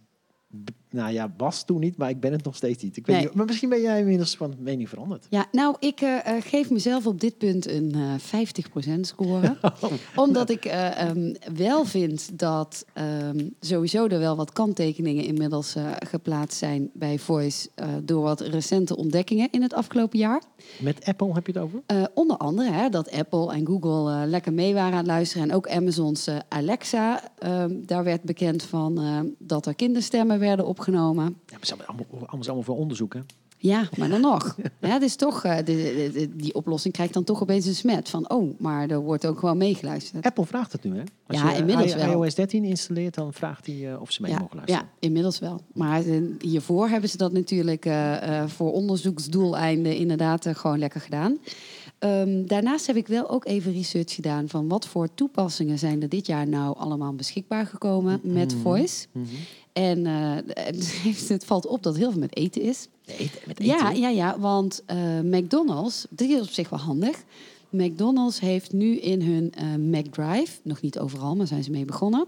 B: b- nou ja, was toen niet, maar ik ben het nog steeds niet. Ik weet
C: Nee.
B: niet maar misschien ben jij inmiddels van mening veranderd.
C: ja, nou, ik eh, eh, geef mezelf op dit punt een eh 50% score. Omdat ik eh, ehm, wel vind dat ehm, sowieso er wel wat kanttekeningen inmiddels eh, geplaatst zijn bij Voice. eh, door wat recente ontdekkingen in het afgelopen jaar.
B: Met Apple heb je het over?
C: Eh, onder andere hè, dat Apple en Google eh, lekker mee waren aan het luisteren. En ook Amazon's eh, Alexa. ehm, daar werd bekend van ehm, dat er kinderstemmen werden opgenomen.
B: Ja, maar ze hebben allemaal, allemaal, allemaal voor onderzoek, hè?
C: Ja, maar dan nog. Ja, het is toch, eh, de- de- de- die oplossing krijgt dan toch opeens een smet. Van, oh, maar er wordt ook gewoon meegeluisterd.
B: Apple vraagt het nu, hè? Als
C: Ja,
B: je eh,
C: inmiddels
B: i-
C: wel.
B: iOS 13 installeert, dan vraagt hij eh, of ze mee
C: ja,
B: mogen luisteren.
C: ja, inmiddels wel. Maar eh, hiervoor hebben ze dat natuurlijk eh, eh, voor onderzoeksdoeleinden inderdaad eh, gewoon lekker gedaan. Ehm, daarnaast heb ik wel ook even research gedaan van wat voor toepassingen zijn er dit jaar nou allemaal beschikbaar gekomen met Voice. En eh, [laughs] het valt op dat heel veel met eten is.
B: Eten- met eten.
C: Ja, ja, ja, want eh, McDonald's, dit is op zich wel handig. McDonald's heeft nu in hun eh McDrive, nog niet overal, maar zijn ze mee begonnen.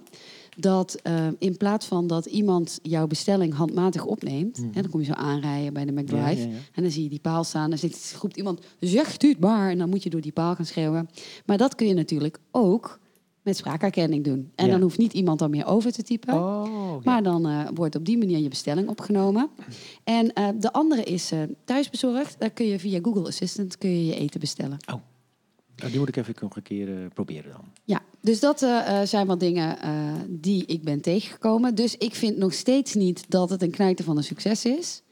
C: Dat eh, in plaats van dat iemand jouw bestelling handmatig opneemt, en dan kom je zo aanrijden bij de McDrive.
B: Mhm. Ja, ja, ja.
C: En dan zie je die paal staan. Dan zit, roept iemand, zegt u het maar. En dan moet je door die paal gaan schreeuwen. Maar dat kun je natuurlijk ook met spraakherkenning doen. En
B: Ja.
C: dan hoeft niet iemand dan meer over te typen.
B: Oh, ja.
C: Maar dan eh, wordt op die manier je bestelling opgenomen. En eh, de andere is eh, thuisbezorgd. Daar kun je via Google Assistant kun je je eten bestellen.
B: Nou, die moet ik even nog een keer eh, proberen dan.
C: Ja, dus dat eh, eh, zijn wat dingen eh, die ik ben tegengekomen. Dus ik vind nog steeds niet dat het een knijter van een succes is.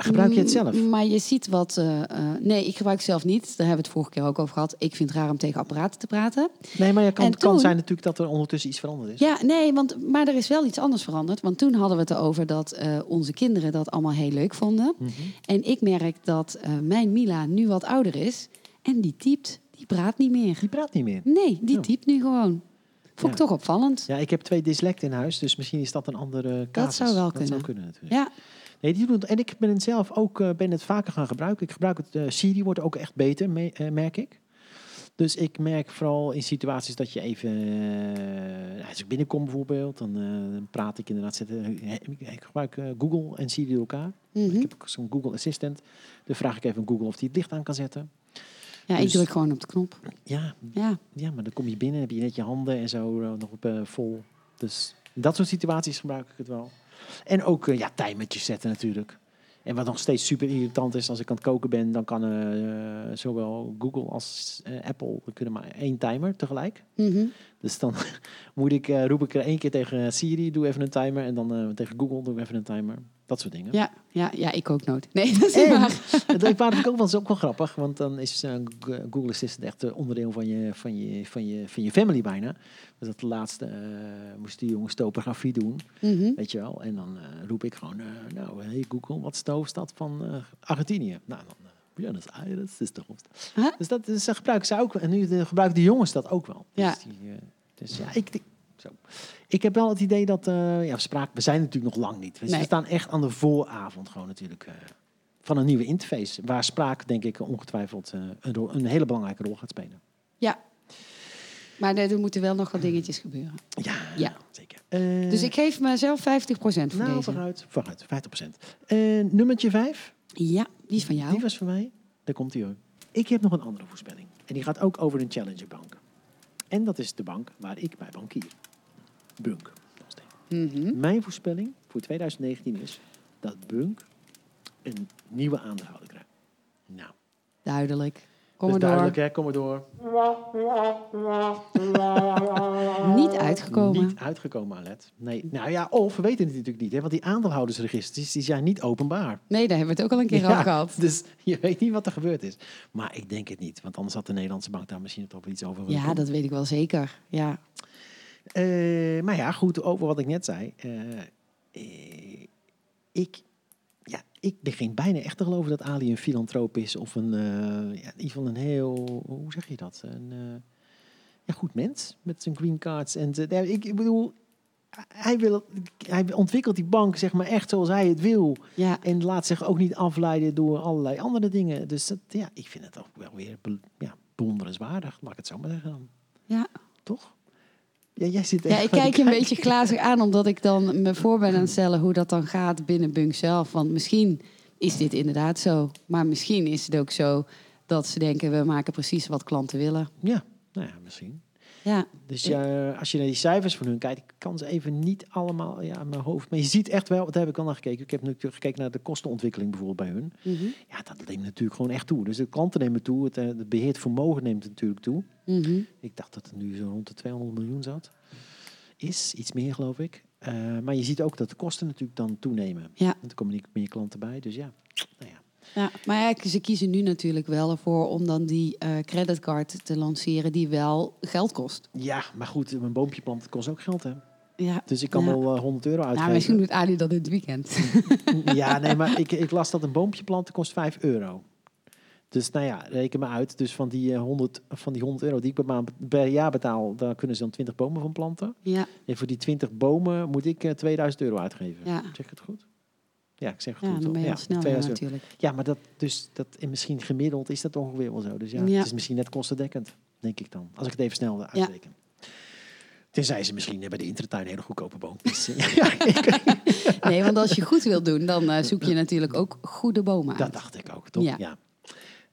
B: Gebruik je het zelf?
C: Mm, Maar je ziet wat. eh, eh, nee, ik gebruik het zelf niet. Daar hebben we het vorige keer ook over gehad. Ik vind het raar om tegen apparaten te praten.
B: Nee, maar het kan,
C: En
B: kan
C: toen-
B: zijn natuurlijk dat er ondertussen iets veranderd is.
C: Ja, nee, want, maar er is wel iets anders veranderd. Want toen hadden we het erover dat eh, onze kinderen dat allemaal heel leuk vonden.
B: Mhm.
C: En ik merk dat eh, mijn Mila nu wat ouder is. En die typt, die praat niet meer.
B: Die praat niet meer.
C: Nee, die
B: Oh.
C: typt nu gewoon. Vond ik
B: Ja.
C: toch opvallend.
B: Ja, ik heb twee dyslecten in huis, dus misschien is dat een andere casus.
C: zou wel
B: Dat zou
C: kunnen.
B: kunnen natuurlijk.
C: Ja,
B: Nee, die doen het- en ik ben het zelf ook eh, ben het vaker gaan gebruiken. Ik gebruik het, eh, Siri wordt ook echt beter, me- eh, merk ik. Dus ik merk vooral in situaties dat je even, eh, als ik binnenkom bijvoorbeeld, dan, eh, dan praat ik inderdaad, zet, eh, ik- ik gebruik eh, Google en Siri door elkaar. Ik
C: mhm.
B: heb ook zo'n Google Assistant. Dan vraag ik even aan Google of die het licht aan kan zetten.
C: ja ik
B: dus-
C: druk gewoon op de knop.
B: Ja,
C: Ja,
B: ja maar dan kom je binnen, heb je net je handen en zo eh, nog op, eh, vol. Dus in dat soort situaties gebruik ik het wel. En ook eh, ja, timertjes zetten natuurlijk. En wat nog steeds super irritant is, als ik aan het koken ben, dan kan eh, zowel Google als eh, Apple we kunnen maar één timer tegelijk.
C: mhm.
B: Dus dan [laughs] moet ik, eh, roep ik er één keer tegen Siri, doe even een timer. En dan eh, tegen Google, doe even een timer. Dat soort dingen.
C: ja, ja, ja ik ook nooit. Nee, [laughs] dat is niet
B: En-
C: waar.
B: Dat waren natuurlijk ook wel, is ook wel grappig, want dan is eh, Go- Google Assistant echt eh, onderdeel van je, van, je, van, je, van je family bijna. Dus dat laatste eh, moest die jongens topografie doen,
C: Mhm.
B: weet je wel. En dan eh, roep ik gewoon, eh, nou, hey Google, wat is de hoofdstad van eh, Argentinië? Nou, dan, eh, Buenos Aires is de hoofdstad.
C: Huh?
B: Dus dat dus, eh, gebruiken ze ook, en nu de, gebruiken de jongens dat ook wel. Dus
C: Ja.
B: die, eh, dus ja, ik, denk- zo. ik heb wel het idee dat, eh, ja, we, spraak, we zijn natuurlijk nog lang niet. Dus We
C: Nee.
B: staan echt aan de vooravond gewoon natuurlijk. eh, van een nieuwe interface. Waar spraak, denk ik, ongetwijfeld eh, een, rol- een hele belangrijke rol gaat spelen.
C: Ja. Maar er er moeten wel nog wat dingetjes gebeuren.
B: Ja,
C: Ja.
B: zeker. Eh,
C: Dus ik geef mezelf 50% voor
B: nou,
C: deze.
B: vooruit. Vooruit, 50%. Eh nummertje 5.
C: Ja, die is van jou.
B: Die was voor mij. Daar komt hij hoor. Ik heb nog een andere voorspelling. En die gaat ook over een challengerbank. En dat is de bank waar ik bij bankier. Bunk. nog steeds.
C: Mhm.
B: Mijn voorspelling voor 2019 is dat Bunk een nieuwe aandeelhouder krijgt. Nou,
C: Duidelijk.
B: dat is
C: Kom maar door.
B: duidelijk hè, kom maar door.
C: Oh. Niet uitgekomen.
B: Niet uitgekomen, Alet. Nee. Nou ja, of we weten het natuurlijk niet, hè, want die aandeelhoudersregisters die zijn niet openbaar.
C: Nee, daar hebben we het ook al een keer over gehad.
B: Dus je weet niet wat er gebeurd is. Maar ik denk het niet, want anders had de Nederlandse bank daar misschien toch wel iets over willen
C: Ja, dat weet ik wel zeker. Ja.
B: Eh, maar ja, goed, over wat ik net zei. Eh, eh, ik, ja, ik begin bijna echt te geloven dat Ali een filantroop is. Of een, eh, ja, in ieder geval een heel, hoe zeg je dat? Een eh, ja, goed mens met zijn green cards. En zijn- ja, ik, ik bedoel, hij, wil, hij ontwikkelt die bank zeg maar echt zoals hij het wil.
C: Ja.
B: En laat zich ook niet afleiden door allerlei andere dingen. Dus dat, ja, ik vind het ook wel weer be- ja, bewonderenswaardig, laat ik het zo maar zeggen. dan.
C: Ja.
B: Toch? Ja, jij zit
C: ja,
B: echt
C: ik
B: naar
C: kijk
B: te
C: je een
B: kijken.
C: beetje glazig aan, omdat ik dan me voor ben aan het stellen hoe dat dan gaat binnen Bunk zelf. Want misschien is dit inderdaad zo. Maar misschien is het ook zo dat ze denken, we maken precies wat klanten willen.
B: Ja, nou ja, misschien.
C: Ja,
B: Dus ja, als je naar die cijfers van hun kijkt, ik kan ze even niet allemaal ja, aan mijn hoofd. Maar je ziet echt wel, daar heb ik al naar gekeken. Ik heb natuurlijk gekeken naar de kostenontwikkeling bijvoorbeeld bij hun.
C: Mhm.
B: Ja, dat neemt natuurlijk gewoon echt toe. Dus de klanten nemen toe, het, eh, het beheerd vermogen neemt natuurlijk toe.
C: Mhm.
B: Ik dacht dat het nu zo rond de 200 miljoen zat. Is, iets meer geloof ik. Eh, maar je ziet ook dat de kosten natuurlijk dan toenemen.
C: Ja.
B: Want er komen niet meer klanten bij, dus ja. Nou ja.
C: ja. maar ja, ze kiezen nu natuurlijk wel ervoor om dan die eh, creditcard te lanceren die wel geld kost.
B: ja, maar goed, een boompje planten kost ook geld, hè.
C: Ja.
B: Dus ik kan
C: Ja.
B: wel eh, 100 euro uitgeven.
C: Nou, misschien doet Ali dat dit weekend.
B: [laughs] Ja, nee, maar ik, ik las dat een boompje planten kost 5 euro. Dus nou ja, reken maar uit. Dus van die, eh, 100, van die 100 euro die ik per, maand, per jaar betaal, daar kunnen ze dan 20 bomen van planten.
C: [laughs] ja.
B: En voor die 20 bomen moet ik eh, 2000 euro uitgeven.
C: Ja.
B: Zeg ik het goed? Ja, ik zeg het
C: Ja,
B: goed. toch?
C: dan ben je al sneller
B: 2000 euro.
C: natuurlijk.
B: Ja, maar dat, dus, dat, en misschien gemiddeld is dat ongeveer wel zo. Dus ja,
C: Ja.
B: het is misschien net kostendekkend, denk ik dan. Als ik het even snel eh,
C: Ja.
B: uitreken. Tenzij ze misschien eh, bij de intertuin een hele goedkope boompjes. [laughs] ja, ik weet-
C: Nee, want als je goed wilt doen, dan eh, zoek je natuurlijk ook goede bomen uit.
B: Dat dacht ik ook, toch? Ja.
C: Ja.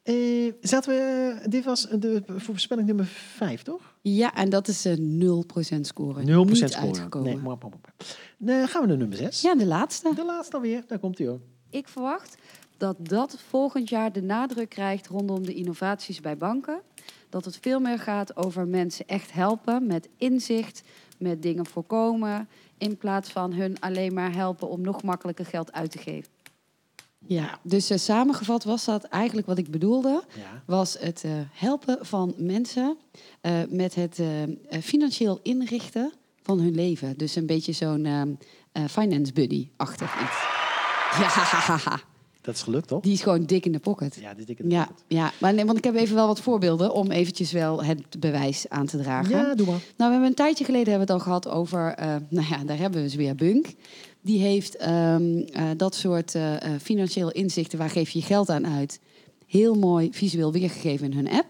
B: Eh, zaten we, dit was de voorspelling nummer 5, toch? 0%
C: Ja, en dat is een 0% score. Niet
B: scoren.
C: uitgekomen.
B: Nee, maar, maar, maar. Dan eh, gaan we naar nummer 6.
C: Ja, de laatste.
B: De laatste alweer, daar komt hij hoor.
D: Ik verwacht dat dat volgend jaar de nadruk krijgt rondom de innovaties bij banken. Dat het veel meer gaat over mensen echt helpen met inzicht, met dingen voorkomen, in plaats van hun alleen maar helpen om nog makkelijker geld uit te geven.
C: Ja, dus eh, samengevat was dat eigenlijk wat ik bedoelde.
B: Ja.
C: Was het eh, helpen van mensen eh, met het eh, eh, financieel inrichten van hun leven. Dus een beetje zo'n ehm, eh, finance buddy-achtig iets. Ja, [laughs]
B: Dat is gelukt, toch?
C: die is gewoon dik in de pocket.
B: Ja, dit ik het.
C: Ja, ja. Maar nee, want ik heb even wel wat voorbeelden om eventjes wel het bewijs aan te dragen.
B: ja, doe maar.
C: Nou, we hebben een tijdje geleden hebben we het al gehad over, eh, nou ja, daar hebben we ze weer, Bunk. Die heeft ehm, eh, dat soort eh, eh, financiële inzichten, waar geef je je geld aan uit, heel mooi visueel weergegeven in hun app.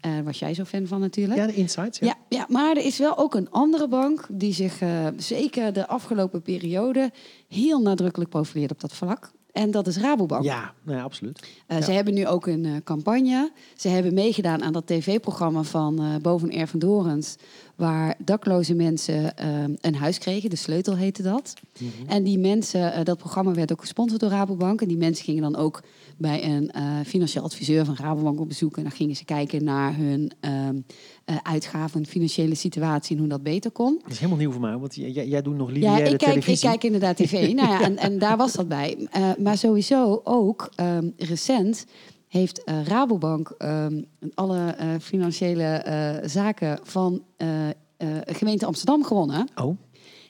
C: Eh, was jij zo fan van natuurlijk.
B: Ja, de insights. Ja.
C: Ja, ja, maar er is wel ook een andere bank die zich eh, zeker de afgelopen periode heel nadrukkelijk profileert op dat vlak. En dat is Rabobank.
B: Ja, nou ja, absoluut.
C: Eh,
B: Ja.
C: Ze hebben nu ook een eh, campagne. Ze hebben meegedaan aan dat tv-programma van eh Boven Air van Dorens. Waar dakloze mensen eh, een huis kregen. De sleutel heette dat. En die mensen, eh, dat programma werd ook gesponsord door Rabobank. En die mensen gingen dan ook bij een eh, financieel adviseur van Rabobank op bezoek. En dan gingen ze kijken naar hun ehm, eh, uitgaven, financiële situatie en hoe dat beter kon.
B: Dat is helemaal nieuw voor mij, want j- jij, jij doet nog
C: Ja,
B: lineaire
C: ik kijk, ik
B: televisie.
C: kijk inderdaad tv. nou ja, en, en daar was dat bij. Eh, maar sowieso ook ehm, recent heeft eh, Rabobank ehm, alle eh, financiële eh, zaken van eh, eh, gemeente Amsterdam gewonnen.
B: Oh,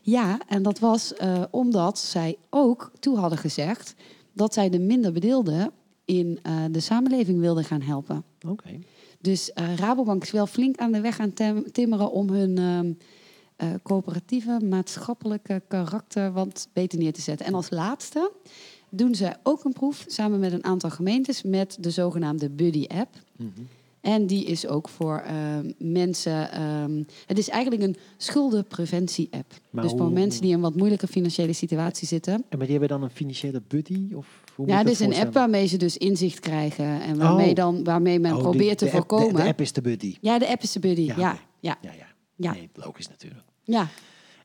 C: Ja, en dat was eh, omdat zij ook toe hadden gezegd dat zij de minder bedeelden in eh, de samenleving wilden gaan helpen.
B: oké.
C: Dus eh, Rabobank is wel flink aan de weg aan tem- timmeren om hun ehm, eh, coöperatieve maatschappelijke karakter wat beter neer te zetten. En als laatste doen ze ook een proef samen met een aantal gemeentes met de zogenaamde Buddy App.
B: Mhm.
C: En die is ook voor ehm, mensen. ehm, het is eigenlijk een schuldenpreventie-app.
B: Maar
C: dus voor
B: hoe-
C: mensen die in een wat moeilijke financiële situatie zitten.
B: En maar die hebben dan een financiële buddy? Of hoe
C: Ja,
B: moet ik dat
C: het is een app
B: voorstellen?
C: waarmee ze dus inzicht krijgen. En waarmee,
B: Oh.
C: dan, waarmee men
B: Oh, die-
C: probeert te
B: de app- de-
C: voorkomen.
B: de app is de buddy.
C: Ja, de app is de buddy. Ja,
B: Ja,
C: ja,
B: oké.
C: ja.
B: Ja, ja.
C: Ja.
B: Nee, logisch natuurlijk.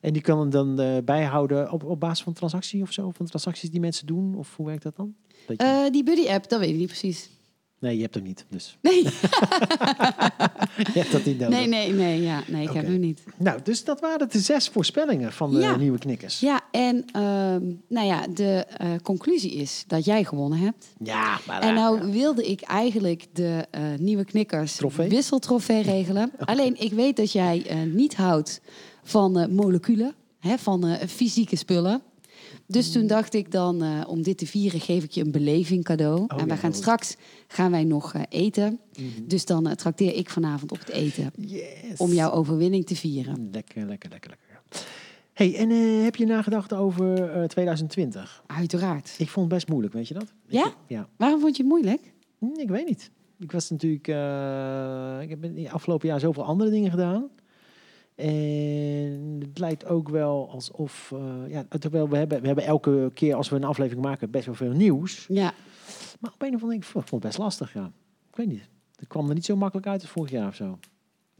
B: En die kan hem dan eh, bijhouden op, op basis van transactie of zo? Van transacties die mensen doen? Of hoe werkt dat dan? Dat je-
C: Eh, die buddy app, dat weet ik niet precies. [laughs]
B: nee, je hebt hem niet. Dus [laughs]
C: Nee,
B: je hebt dat niet nodig.
C: nee, nee, nee, ja, nee ik heb
B: Oké.
C: hem niet.
B: Nou, dus dat waren de zes voorspellingen van de
C: Ja.
B: nieuwe knikkers. Ja,
C: Ja, en ehm, nou ja, de eh, conclusie is dat jij gewonnen hebt.
B: maar...
C: En
B: eh,
C: nou wilde ik eigenlijk de eh, nieuwe knikkers
B: Trofee?
C: wisseltrofee
B: [laughs]
C: regelen. Alleen ik weet dat jij eh, niet houdt van eh, moleculen, hè, van eh, fysieke spullen. Dus toen dacht ik dan, eh, om dit te vieren, geef ik je een beleving cadeau. en we
B: Oh ja,
C: gaan
B: goed.
C: straks gaan wij nog eh, eten. Dus dan eh, trakteer ik vanavond op het eten.
B: yes.
C: Om jouw overwinning te vieren.
B: Lekker, lekker, lekker, lekker. hey, en eh, heb je nagedacht over eh, 2020?
C: Uiteraard.
B: Ik vond het best moeilijk, weet je dat? Ik-
C: Ja?
B: ja.
C: Waarom vond je het moeilijk?
B: Hm, Ik weet niet. Ik was natuurlijk... eh, ik heb in het afgelopen jaar zoveel andere dingen gedaan. En het lijkt ook wel alsof... eh, ja, terwijl we hebben, we hebben elke keer als we een aflevering maken best wel veel nieuws.
C: Ja,
B: Maar op een of andere manier, ik vond ik vond het best lastig, ja. Ik weet niet. Het kwam er niet zo makkelijk uit als vorig jaar of zo.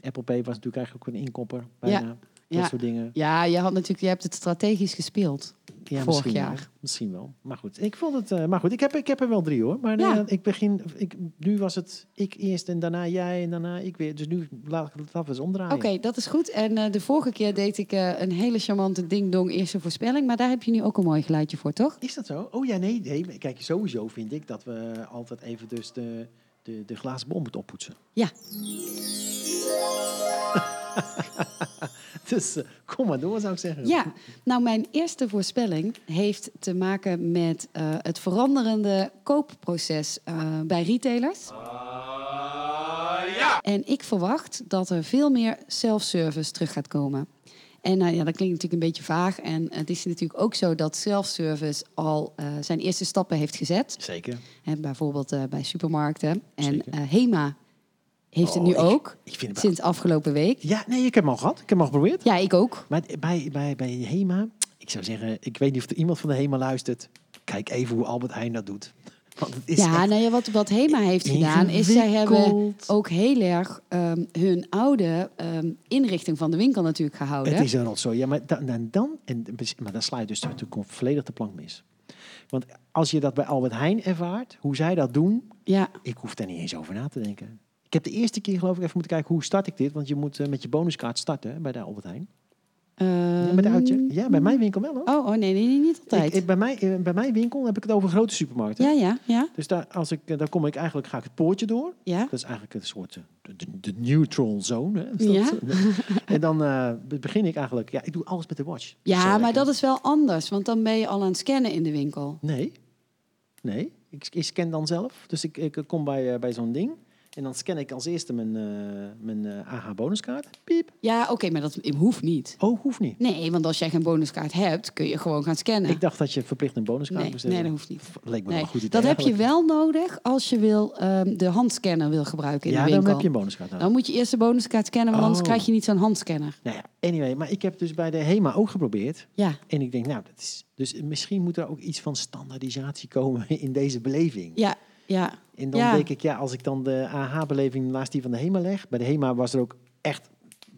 B: Apple Pay was natuurlijk eigenlijk ook een inkopper, bijna.
C: Ja,
B: Dat
C: ja.
B: soort dingen.
C: ja je, had natuurlijk, je hebt het strategisch gespeeld.
B: Ja,
C: Vorig
B: misschien wel.
C: jaar.
B: misschien wel. Maar goed, ik vond het. eh, maar goed, ik heb, ik heb er wel drie hoor. Maar
C: Ja.
B: nee, ik begin. Ik, nu was het ik eerst en daarna jij en daarna ik weer. Dus nu laat ik het af eens omdraaien.
C: Oké, dat is goed. En eh, de vorige keer deed ik eh, een hele charmante ding-dong eerste voorspelling. Maar daar heb je nu ook een mooi geluidje voor, toch?
B: Is dat zo? Oh ja, nee, nee. Kijk, sowieso vind ik dat we altijd even dus de, de, de glazen bol moeten oppoetsen.
C: Ja.
B: [laughs] Dus eh, kom maar door, zou ik zeggen.
C: Ja, nou mijn eerste voorspelling heeft te maken met eh, het veranderende koopproces eh, bij retailers. En ik verwacht dat er veel meer self-service terug gaat komen. En nou ja, dat klinkt natuurlijk een beetje vaag. En het is natuurlijk ook zo dat self-service al eh, zijn eerste stappen heeft gezet.
B: Zeker.
C: Hè, bijvoorbeeld eh, bij supermarkten. En
B: Zeker.
C: eh, Hema heeft het
B: Oh,
C: nu
B: ik-
C: ook.
B: ik vind het-
C: sinds afgelopen week.
B: Ja, nee, ik heb hem al gehad. Ik heb hem al geprobeerd.
C: Ja, ik ook.
B: Maar het- bij, bij, bij HEMA, ik zou zeggen, ik weet niet of er iemand van de HEMA luistert. Kijk even hoe Albert Heijn dat doet. Want het is
C: ja,
B: echt-
C: nou ja, wat, wat Hema heeft gedaan is zij hebben
B: ingewikkeld.
C: ook heel erg ehm, hun oude ehm, inrichting van de winkel natuurlijk gehouden.
B: het is een rotzooi. Ja, maar dan, en dan, en, maar dan sla je dus natuurlijk volledig de plank mis. Want als je dat bij Albert Heijn ervaart, hoe zij dat doen,
C: Ja,
B: ik hoef daar niet eens over na te denken. Ik heb de eerste keer geloof ik even moeten kijken, hoe start ik dit? Want je moet eh, met je bonuskaart starten hè, bij de Albert Heijn. Ja, met uitje? Ja, bij mijn winkel wel hoor.
C: Oh, oh nee, nee, nee, niet Ehm, altijd.
B: Ik- ik- bij, mij, eh, bij mijn winkel heb ik het over grote supermarkten.
C: ja, ja, ja,
B: Dus daar, als ik, eh, daar kom ik eigenlijk, ga ik het poortje door.
C: ja.
B: Dat is eigenlijk een soort eh, de, de- de neutral zone. Hè? Is dat-
C: Ja.
B: En dan eh, [laughs] be- begin ik eigenlijk, ja, ik doe alles met de watch.
C: Ja, maar dat is wel anders, want dan ben je al aan het scannen in de winkel.
B: Nee, nee. Ik, ik scan dan zelf. Dus ik, ik kom bij, eh, bij zo'n ding. En dan scan ik als eerste mijn, eh, mijn eh, AH bonuskaart. Piep.
C: Ja, oké, maar dat hoeft niet.
B: Oh, hoeft niet.
C: Nee, want als jij geen bonuskaart hebt, kun je gewoon gaan scannen.
B: Ik dacht dat je verplicht een bonuskaart
C: nee,
B: moest
C: nee,
B: hebben.
C: dat hoeft niet.
B: Leek me wel
C: Nee,
B: een goed idee.
C: dat heb je
B: eigenlijk.
C: wel nodig als je wil, ehm, de handscanner wil gebruiken in
B: Ja,
C: de winkel.
B: dan heb je een bonuskaart nodig.
C: Dan moet je eerst de bonuskaart scannen, want
B: Oh.
C: anders krijg je niet zo'n handscanner.
B: Nou ja, anyway. Maar ik heb dus bij de HEMA ook geprobeerd.
C: Ja.
B: En ik denk, nou, dat is, dus misschien moet er ook iets van standaardisatie komen [laughs] in deze beleving.
C: Ja, ja.
B: En dan
C: Ja.
B: denk ik, ja, als ik dan de AH-beleving naast die van de HEMA leg. Bij de HEMA was er ook echt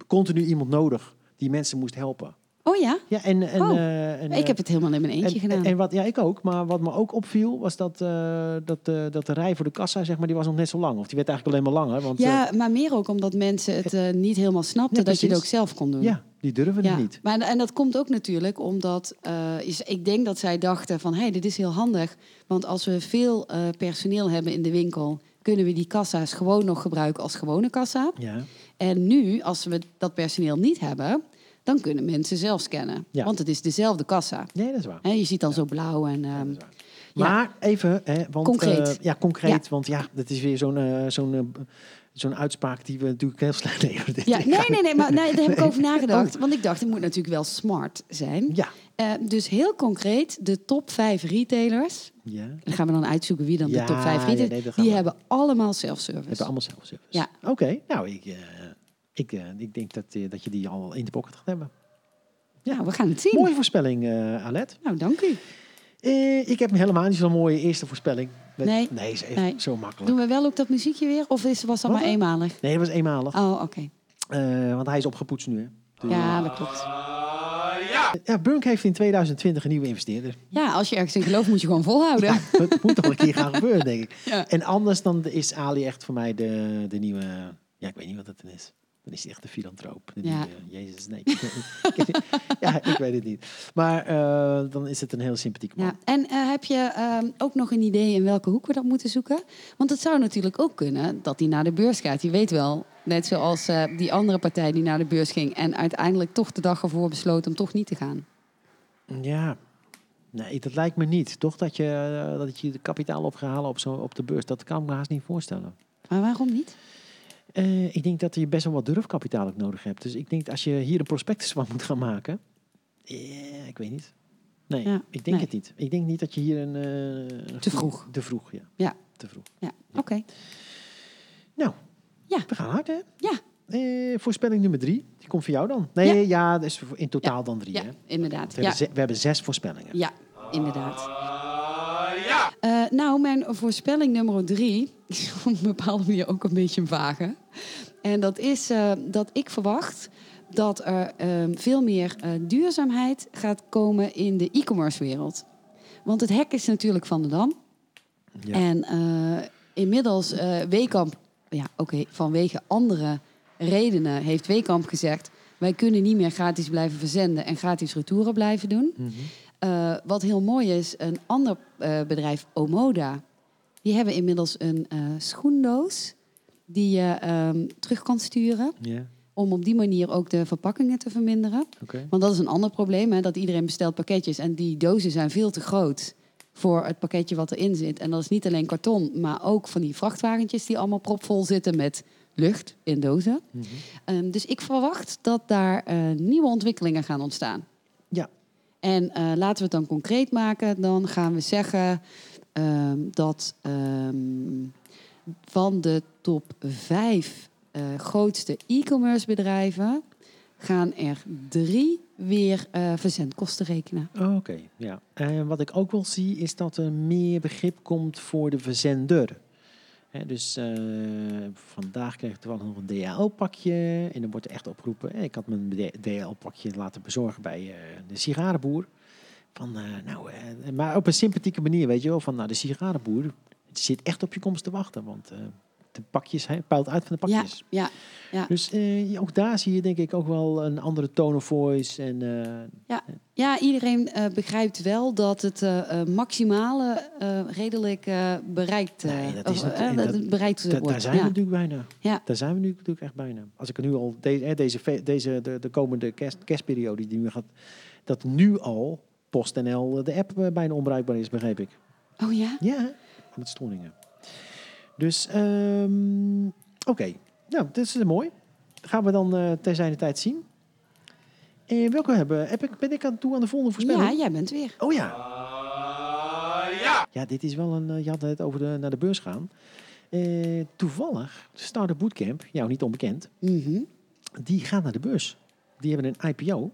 B: continu iemand nodig die mensen moest helpen.
C: Oh ja?
B: Ja, en, en,
C: Oh,
B: eh, en,
C: ik heb
B: eh,
C: het helemaal in mijn eentje
B: en,
C: gedaan.
B: En wat, ja, ik ook. Maar wat me ook opviel was dat, eh, dat, eh, dat de rij voor de kassa, zeg maar, die was nog net zo lang. Of die werd eigenlijk alleen maar langer. Want, eh,
C: ja, maar meer ook omdat mensen het eh, niet helemaal snapten
B: Nee,
C: dat je het ook
B: precies.
C: zelf kon doen.
B: eh, ja die durven
C: Ja,
B: het niet.
C: Maar, en dat komt ook natuurlijk omdat eh, is, ik denk dat zij dachten van hé, hey, dit is heel handig. Want als we veel eh, personeel hebben in de winkel, kunnen we die kassa's gewoon nog gebruiken als gewone kassa.
B: Ja,
C: En nu, als we dat personeel niet hebben, dan kunnen mensen zelf scannen.
B: Ja.
C: Want het is dezelfde kassa.
B: nee, dat is waar.
C: Hè, je ziet dan zo blauw en... ehm,
B: dat is waar. Maar even, hè, want,
C: Concreet.
B: eh, ja, concreet. Want ja, dat is weer zo'n eh, zo'n eh, zo'n uitspraak die we natuurlijk heel [laughs] slecht leveren.
C: ja, nee, nee, nee, maar nee, daar heb ik over
B: [laughs]
C: nagedacht.
B: Oh.
C: Want ik dacht, het moet natuurlijk wel smart zijn.
B: Ja.
C: Eh, dus heel concreet, de top vijf retailers.
B: ja.
C: Dan gaan we dan uitzoeken wie dan
B: Ja,
C: de top vijf
B: ja,
C: retailers...
B: nee, dat gaan
C: die
B: we-
C: hebben allemaal
B: We hebben
C: self-service.
B: allemaal zelfservice.
C: Ja.
B: Oké, nou, ik, eh, ik, eh, ik denk dat, eh, dat je die al in de pocket gaat hebben.
C: Nou, we gaan het zien.
B: Mooie voorspelling, eh Alet.
C: Nou, dank u.
B: Eh, ik heb helemaal niet zo'n mooie eerste voorspelling. Met-
C: Nee.
B: Nee, is echt
C: Nee.
B: zo makkelijk.
C: Doen we wel ook dat muziekje weer? Of is, was
B: Wat
C: dat maar
B: dan?
C: eenmalig?
B: Nee, dat was eenmalig.
C: Oh, oké.
B: Eh, want hij is opgepoetst nu. Hè.
C: Ah. Ja, dat klopt.
B: Ja, Bunk heeft in 2020 een nieuwe investeerder.
C: Ja, als je ergens in gelooft, moet je gewoon volhouden.
B: Dat moet toch een keer gaan gebeuren, denk ik.
C: Ja.
B: En anders dan is Ali echt voor mij de, de nieuwe... Ja, ik weet niet wat het dan is. Dan is hij echt de filantroop. De
C: Ja.
B: nieuwe- Jezus, nee. [laughs] ja, ik weet het niet. Maar eh, dan is het een heel sympathiek man.
C: Ja, en eh, heb je ehm, ook nog een idee in welke hoek we dat moeten zoeken? Want het zou natuurlijk ook kunnen dat die naar de beurs gaat. Je weet wel, net zoals eh, die andere partij die naar de beurs ging en uiteindelijk toch de dag ervoor besloot om toch niet te gaan.
B: Ja. Nee, dat lijkt me niet. Toch dat je, eh, dat je de kapitaal op gaat halen op, zo, op de beurs. Dat kan ik me haast niet voorstellen.
C: Maar waarom niet?
B: Eh, ik denk dat je best wel wat durfkapitaal ook nodig hebt. Dus ik denk dat als je hier een prospectus van moet gaan maken... eh, ik weet niet. Nee,
C: Ja,
B: ik denk
C: nee.
B: het niet. Ik denk niet dat je hier een... eh,
C: Te vroeg.
B: Te vroeg, ja.
C: Ja.
B: Te vroeg.
C: Ja, oké.
B: Nou,
C: Ja.
B: we gaan hard, hè?
C: Ja,
B: Eh, voorspelling nummer drie. Die komt voor jou dan. Nee, ja, dus voor- in totaal dan drie,
C: ja
B: hè?
C: inderdaad.
B: We,
C: Ja,
B: hebben ze- we hebben zes voorspellingen.
C: ja inderdaad. Eh, nou, mijn voorspelling nummer drie is [laughs] op een bepaalde manier ook een beetje een vage. En dat is eh, dat ik verwacht dat er eh, veel meer eh, duurzaamheid gaat komen in de e-commerce wereld. Want het hek is natuurlijk van de Dam.
B: Ja.
C: En eh, inmiddels, eh Weekamp, ja, oké, vanwege andere redenen heeft Weekamp gezegd... wij kunnen niet meer gratis blijven verzenden en gratis retouren blijven doen.
B: Mhm.
C: Eh, wat heel mooi is, een ander eh, bedrijf, Omoda... die hebben inmiddels een eh, schoendoos die je ehm, terug kan sturen...
B: Ja,
C: om op die manier ook de verpakkingen te verminderen.
B: oké.
C: Want dat is een ander probleem, hè, dat iedereen bestelt pakketjes en die dozen zijn veel te groot voor het pakketje wat erin zit. En dat is niet alleen karton, maar ook van die vrachtwagentjes die allemaal propvol zitten met lucht in dozen.
B: Mhm.
C: Ehm, dus ik verwacht dat daar eh, nieuwe ontwikkelingen gaan ontstaan.
B: Ja.
C: En eh, laten we het dan concreet maken. Dan gaan we zeggen ehm, dat ehm, van de top vijf eh, grootste e-commerce bedrijven gaan er drie weer eh, verzendkosten rekenen.
B: Oké, ja. En wat ik ook wel zie is dat er meer begrip komt voor de verzender. Hè, dus eh, vandaag kreeg ik toevallig nog een DHL-pakje. En dan wordt er echt opgeroepen. hè, ik had mijn DHL-pakje laten bezorgen bij eh, de sigarenboer. Van, eh, nou, eh, maar op een sympathieke manier, weet je wel. Van, nou, de sigarenboer zit echt op je komst te wachten. Want eh, de pakjes, hij puilt uit van de
C: Ja,
B: pakjes.
C: ja, ja.
B: Dus eh, ja, ook daar zie je denk ik ook wel een andere tone of voice. En, eh,
C: ja, iedereen eh, begrijpt wel dat het eh, eh, maximale eh, redelijk eh, bereikt eh,
B: Nee, dat is
C: of, eh,
B: natuurlijk-
C: dat het bereikt
B: da-
C: wordt.
B: daar zijn
C: ja.
B: we natuurlijk bijna.
C: Ja.
B: Daar zijn we nu natuurlijk echt bijna. Als ik er nu al deze, hè, deze, fe- deze de, de komende kerst, kerstperiode die nu gaat, dat nu al PostNL de app eh, bijna onbruikbaar is, begreep ik.
C: Oh ja?
B: Ja, met storingen. Dus, ehm, oké. Nou, dit is mooi. Gaan we dan eh terzijde tijd zien. En welke hebben heb ik, ben ik aan toe aan de volgende voorspelling?
C: Ja, jij bent weer.
B: Oh ja. ja. dit is wel een... eh, Je had het over de, naar de beurs gaan. Eh, toevallig, Startup Bootcamp, jou niet onbekend
C: Mhm.
B: die gaan naar de beurs. Die hebben een IPO.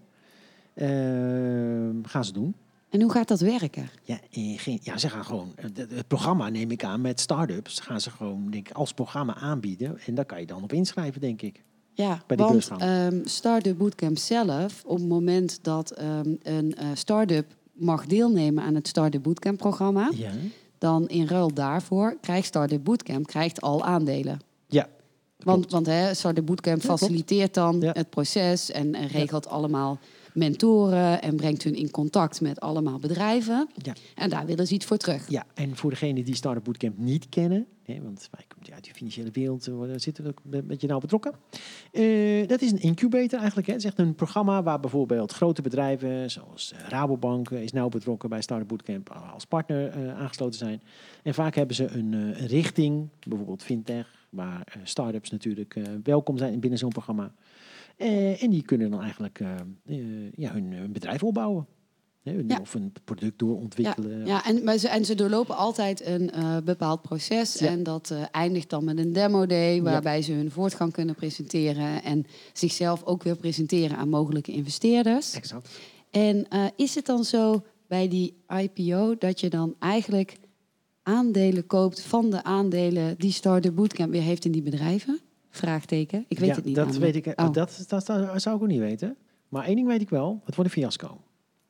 B: Ehm, gaan ze doen.
C: En hoe gaat dat werken?
B: Ja, eh, geen, ja, ze gaan gewoon... eh, de- de- Het programma neem ik aan met start-ups. Gaan ze gewoon denk ik, als programma aanbieden. En daar kan je dan op inschrijven, denk ik.
C: Ja,
B: Bij die
C: want
B: beurs gaan.
C: ehm, Startup Bootcamp zelf, op het moment dat ehm, een eh, start-up mag deelnemen aan het Startup Bootcamp programma,
B: Ja.
C: dan in ruil daarvoor krijgt Startup Bootcamp krijgt al aandelen.
B: Ja.
C: Want, want hè, Startup Bootcamp
B: klopt.
C: faciliteert dan
B: Ja.
C: het proces en, en regelt allemaal mentoren en brengt hun in contact met allemaal bedrijven.
B: Ja.
C: En daar willen ze iets voor terug.
B: ja, en voor degenen die Startup Bootcamp niet kennen... Hè, want wij komen uit de financiële wereld. eh, Daar zitten we ook een beetje nauw nou betrokken. Eh, dat is een incubator eigenlijk. Hè. Het is echt een programma waar bijvoorbeeld grote bedrijven... zoals eh, Rabobank eh, is nauw betrokken bij Startup Bootcamp... eh, als partner eh, aangesloten zijn. En vaak hebben ze een, eh, een richting, bijvoorbeeld fintech, waar eh, start-ups natuurlijk eh, welkom zijn binnen zo'n programma. Eh, en die kunnen dan eigenlijk eh, eh, ja, hun, hun bedrijf opbouwen. Hè, hun-
C: Ja.
B: Of een product
C: Ja,
B: doorontwikkelen.
C: ja en, maar ze, en ze doorlopen altijd een eh, bepaald proces.
B: Ja.
C: En dat eh, eindigt dan met een demo day, waarbij ze hun voortgang kunnen presenteren en zichzelf ook weer presenteren aan mogelijke investeerders.
B: Exact.
C: En eh, is het dan zo bij die IPO dat je dan eigenlijk aandelen koopt van de aandelen die Startup Bootcamp weer heeft in die bedrijven? Vraagteken. Ik weet
B: Ja,
C: het niet.
B: Dat,
C: namelijk.
B: weet ik, eh,
C: Oh.
B: dat, dat, dat zou ik ook niet weten. Maar één ding weet ik wel, het wordt een fiasco.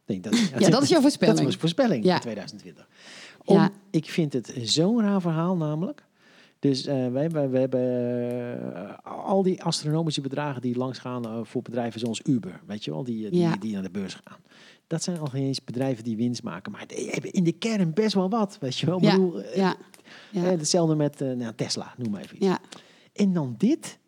B: Nee, dat,
C: [laughs] Ja, dat is jouw voorspelling.
B: Dat was voorspelling
C: Ja.
B: voor 2020. Om,
C: Ja.
B: Ik vind het zo'n raar verhaal namelijk. Dus eh, wij, hebben- we hebben eh, al die astronomische bedragen die langsgaan eh, voor bedrijven zoals Uber, weet je wel, die, eh, die,
C: Ja.
B: die naar de beurs gaan. Dat zijn al geen eens bedrijven die winst maken, maar die hebben in de kern best wel wat, weet je wel. Ik
C: Ja,
B: bedoel, eh,
C: ja,
B: eh,
C: ja,
B: hetzelfde met eh, nou, Tesla, noem maar even iets.
C: ja,
B: En dan dit.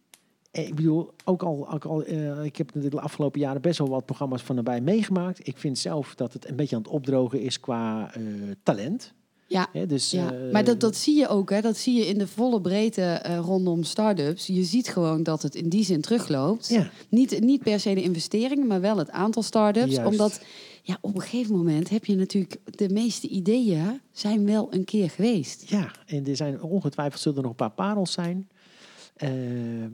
B: Eh, Ik bedoel, ook al, ook al eh, ik heb de afgelopen jaren best wel wat programma's van nabij meegemaakt. Ik vind zelf dat het een beetje aan het opdrogen is qua eh, talent.
C: ja.
B: Hè, dus,
C: Ja,
B: eh,
C: maar dat, dat zie je ook, hè? dat zie je in de volle breedte eh, rondom start-ups. Je ziet gewoon dat het in die zin terugloopt.
B: Ja.
C: Niet, niet per se de investeringen, maar wel het aantal start-ups.
B: Juist.
C: Omdat ja, op een gegeven moment heb je natuurlijk de meeste ideeën zijn wel een keer geweest.
B: Ja, en er zijn ongetwijfeld zullen er nog een paar parels zijn. Eh,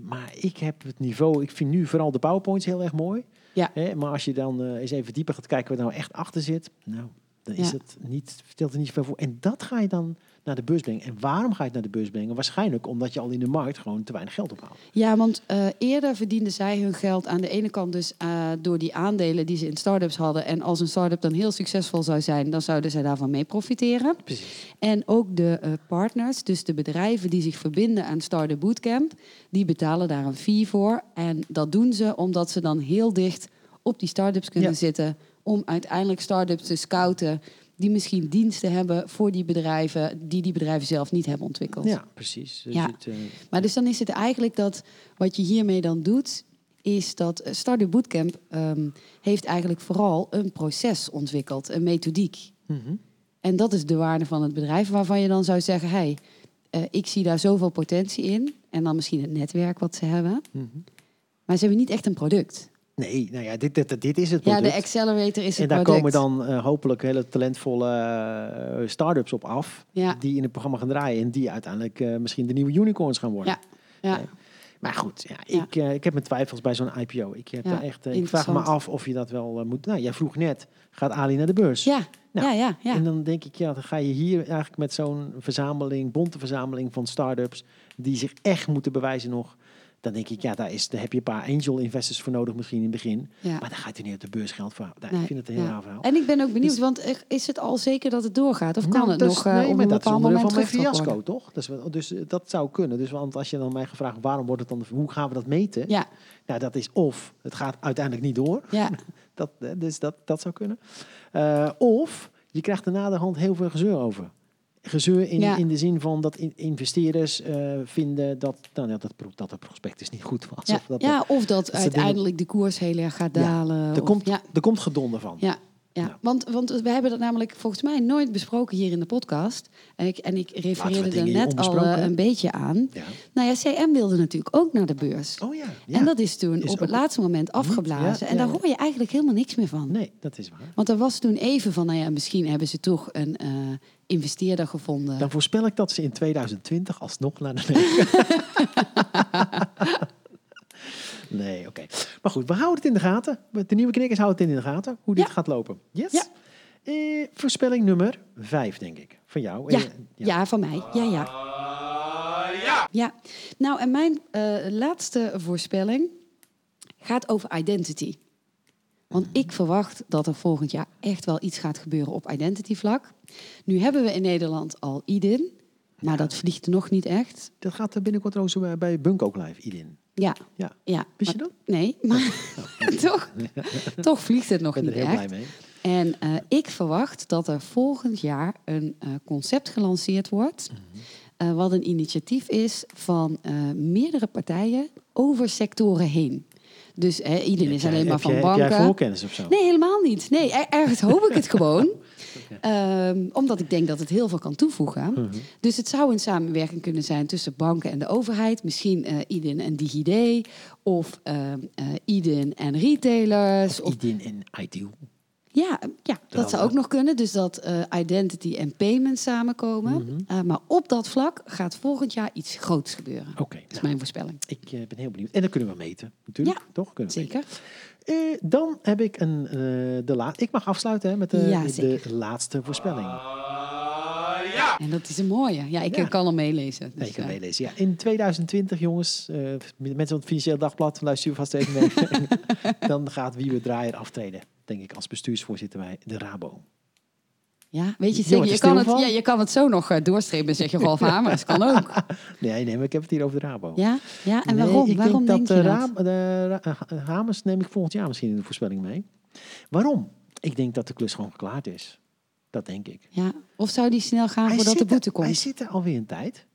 B: maar ik heb het niveau, ik vind nu vooral de powerpoints heel erg mooi.
C: Ja.
B: Hè, maar als je dan eh, eens even dieper gaat kijken wat er nou echt achter zit. Nou, dan is
C: Ja.
B: het niet, stelt er niet veel voor. En dat ga je dan naar de beurs brengen. En waarom ga je het naar de beurs brengen? Waarschijnlijk omdat je al in de markt gewoon te weinig geld ophaalt.
C: Ja, want eh, eerder verdienden zij hun geld aan de ene kant dus eh, door die aandelen die ze in start-ups hadden. En als een start-up dan heel succesvol zou zijn, dan zouden zij daarvan mee profiteren.
B: Precies.
C: En ook de eh, partners, dus de bedrijven die zich verbinden aan Startup Bootcamp, die betalen daar een fee voor. En dat doen ze omdat ze dan heel dicht op die startups kunnen
B: Ja.
C: zitten om uiteindelijk startups te scouten die misschien diensten hebben voor die bedrijven die die bedrijven zelf niet hebben ontwikkeld.
B: Ja, precies. Dus
C: Ja.
B: het, eh,
C: Maar dus dan is het eigenlijk dat wat je hiermee dan doet, is dat eh, Startup Bootcamp ehm, heeft eigenlijk vooral een proces ontwikkeld, een methodiek.
B: mhm.
C: En dat is de waarde van het bedrijf, waarvan je dan zou zeggen: hé, hey, eh, ik zie daar zoveel potentie in. En dan misschien het netwerk wat ze hebben.
B: Mhm.
C: Maar ze hebben niet echt een product.
B: Nee, nou ja, dit, dit, dit is het product.
C: Ja, de accelerator is
B: en
C: het
B: daar
C: product.
B: komen dan eh, hopelijk hele talentvolle eh, start-ups op af.
C: Ja.
B: Die in het programma gaan draaien. En die uiteindelijk eh, misschien de nieuwe unicorns gaan worden.
C: Ja, ja,
B: Nee. Maar goed, ja,
C: Ja.
B: Ik, eh, ik heb mijn twijfels bij zo'n IPO. Ik, heb
C: Ja,
B: daar echt, eh, ik vraag me
C: interessant.
B: af of je dat wel eh, moet. Nou, jij vroeg net, gaat Ali naar de beurs?
C: ja,
B: Nou,
C: ja, ja, ja.
B: En dan denk ik, ja, dan ga je hier eigenlijk met zo'n verzameling, bonte verzameling van start-ups die zich echt moeten bewijzen nog. Dan denk ik, ja, daar, is, daar heb je een paar angel investors voor nodig misschien in het begin.
C: Ja.
B: Maar daar gaat hij niet op de beurs geld voor. houden.
C: Nee,
B: ik vind het een heel
C: ja.
B: raar verhaal.
C: En ik ben ook benieuwd, want eh, is het al zeker dat het doorgaat? Of kan
B: Nou,
C: het
B: dat
C: nog
B: is-
C: eh,
B: nee,
C: op
B: maar
C: een
B: dat is
C: bepaald
B: onderdeel
C: moment
B: van mijn
C: teruggetrokken
B: fiasco,
C: worden?
B: toch? Dus, we- dus eh, dat zou kunnen. Dus want als je dan mij gaat vragen waarom wordt het dan, hoe gaan we dat meten?
C: Ja,
B: Nou, dat is of het gaat uiteindelijk niet door.
C: ja.
B: Dat, eh, dus dat, dat zou kunnen. Eh, of je krijgt er naderhand heel veel gezeur over. Gezeur in,
C: Ja.
B: in de zin van dat in- investeerders eh, vinden dat, nou, ja, dat, pro- dat het prospect is niet goed was.
C: Ja,
B: Of dat
C: ja, of dat
B: dingen-
C: uiteindelijk de koers heel erg gaat
B: Ja,
C: dalen.
B: er,
C: of-
B: komt,
C: ja,
B: er komt gedonder van.
C: ja, ja.
B: Ja.
C: Want, want we hebben dat namelijk volgens mij nooit besproken hier in de podcast. En ik, en ik refereerde er
B: dingen hier
C: net al
B: onbesproken.
C: eh, een beetje aan.
B: Ja.
C: Nou ja, CM wilde natuurlijk ook naar de beurs.
B: Oh ja. ja.
C: En dat is toen
B: Is
C: op het
B: ook-
C: laatste moment afgeblazen.
B: ja,
C: en
B: ja,
C: daar
B: ja.
C: hoor je eigenlijk helemaal niks meer van.
B: Nee, dat is waar.
C: Want er was toen even van, nou ja, misschien hebben ze toch een eh, investeerder gevonden.
B: Dan voorspel ik dat ze in 2020 alsnog naar de [laughs] nee. nee, oké. Maar goed, we houden het in de gaten. De nieuwe knikkers houden het in de gaten. Hoe dit
C: Ja.
B: gaat lopen. Yes.
C: Ja.
B: Eh, voorspelling nummer 5, denk ik. Van jou.
C: Ja,
B: Eh,
C: ja. van mij. Ja, ja. ja. Nou, en mijn eh, laatste voorspelling gaat over identity. Want
B: Mhm.
C: ik verwacht dat er volgend jaar echt wel iets gaat gebeuren op identity vlak. Nu hebben we in Nederland al IDIN, maar dat vliegt nog niet echt.
B: Dat gaat eh, binnenkort trouwens bij- bij Bunk ook live, Idin.
C: Ja,
B: Ja.
C: ja.
B: Wist je
C: maar-
B: dat? Oh.
C: Nee,
B: [laughs]
C: maar [laughs] toch, toch vliegt het nog
B: Ik ben
C: niet
B: er heel
C: echt.
B: blij mee.
C: En eh, ik verwacht dat er volgend jaar een eh, concept gelanceerd wordt.
B: Mhm.
C: eh, wat een initiatief is van eh, meerdere partijen over sectoren heen. Dus eh, iedereen is
B: Heb jij-
C: alleen
B: heb
C: maar van
B: jij-
C: banken.
B: Heb jij voorkennis of zo?
C: Nee, helemaal niet. Nee, er- ergens hoop
B: [laughs]
C: ik het gewoon. Ehm, omdat ik denk dat het heel veel kan toevoegen.
B: Mhm.
C: Dus het zou een samenwerking kunnen zijn tussen banken en de overheid. Misschien eh IDIN en DigiD. Of ehm eh, IDIN en retailers. Of
B: Idin en Ideal.
C: ja, ja dat zou
B: hadden
C: ook nog kunnen. Dus dat eh, identity en payment samenkomen.
B: Mhm.
C: Eh, maar op dat vlak gaat volgend jaar iets groots gebeuren.
B: Oké.
C: Dat is
B: nou,
C: mijn voorspelling.
B: ik eh, ben heel benieuwd. En dat kunnen we meten, natuurlijk.
C: Ja,
B: Toch? Kunnen we meten.
C: Zeker.
B: Eh, dan heb ik een, eh, de la- ik mag afsluiten hè, met de,
C: Ja,
B: de
C: zeker.
B: laatste voorspelling.
C: En dat is een mooie. Ja, ik
B: Ja.
C: kan al meelezen.
B: Nee,
C: Dus,
B: ik kan
C: eh,
B: meelezen. Ja, in 2020, jongens, eh, mensen van het Financieel Dagblad, luister u vast even
C: [laughs]
B: mee. dan gaat Wiebe Draaier aftreden, denk ik, als bestuursvoorzitter bij de Rabo.
C: ja, weet je
B: Je wordt
C: zeker.
B: er
C: Je kan, het,
B: stil van?
C: ja, je kan het zo nog eh,
B: [laughs]
C: doorstrepen, zeg je Rolf Hamers. Kan ook.
B: Nee, nee, maar ik heb het hier over de Rabo.
C: Ja, ja en
B: Nee,
C: waarom?
B: ik
C: waarom
B: denk
C: denk,
B: dat
C: je
B: de,
C: dat?
B: Ra- de Ra- eh, Hamers neem ik volgend jaar misschien in de voorspelling mee. Waarom? Ik denk dat de klus gewoon geklaard is. Dat denk ik.
C: Ja. Of zou die snel gaan voordat
B: zit
C: de
B: er-
C: boete komt?
B: Hij zit er alweer een tijd.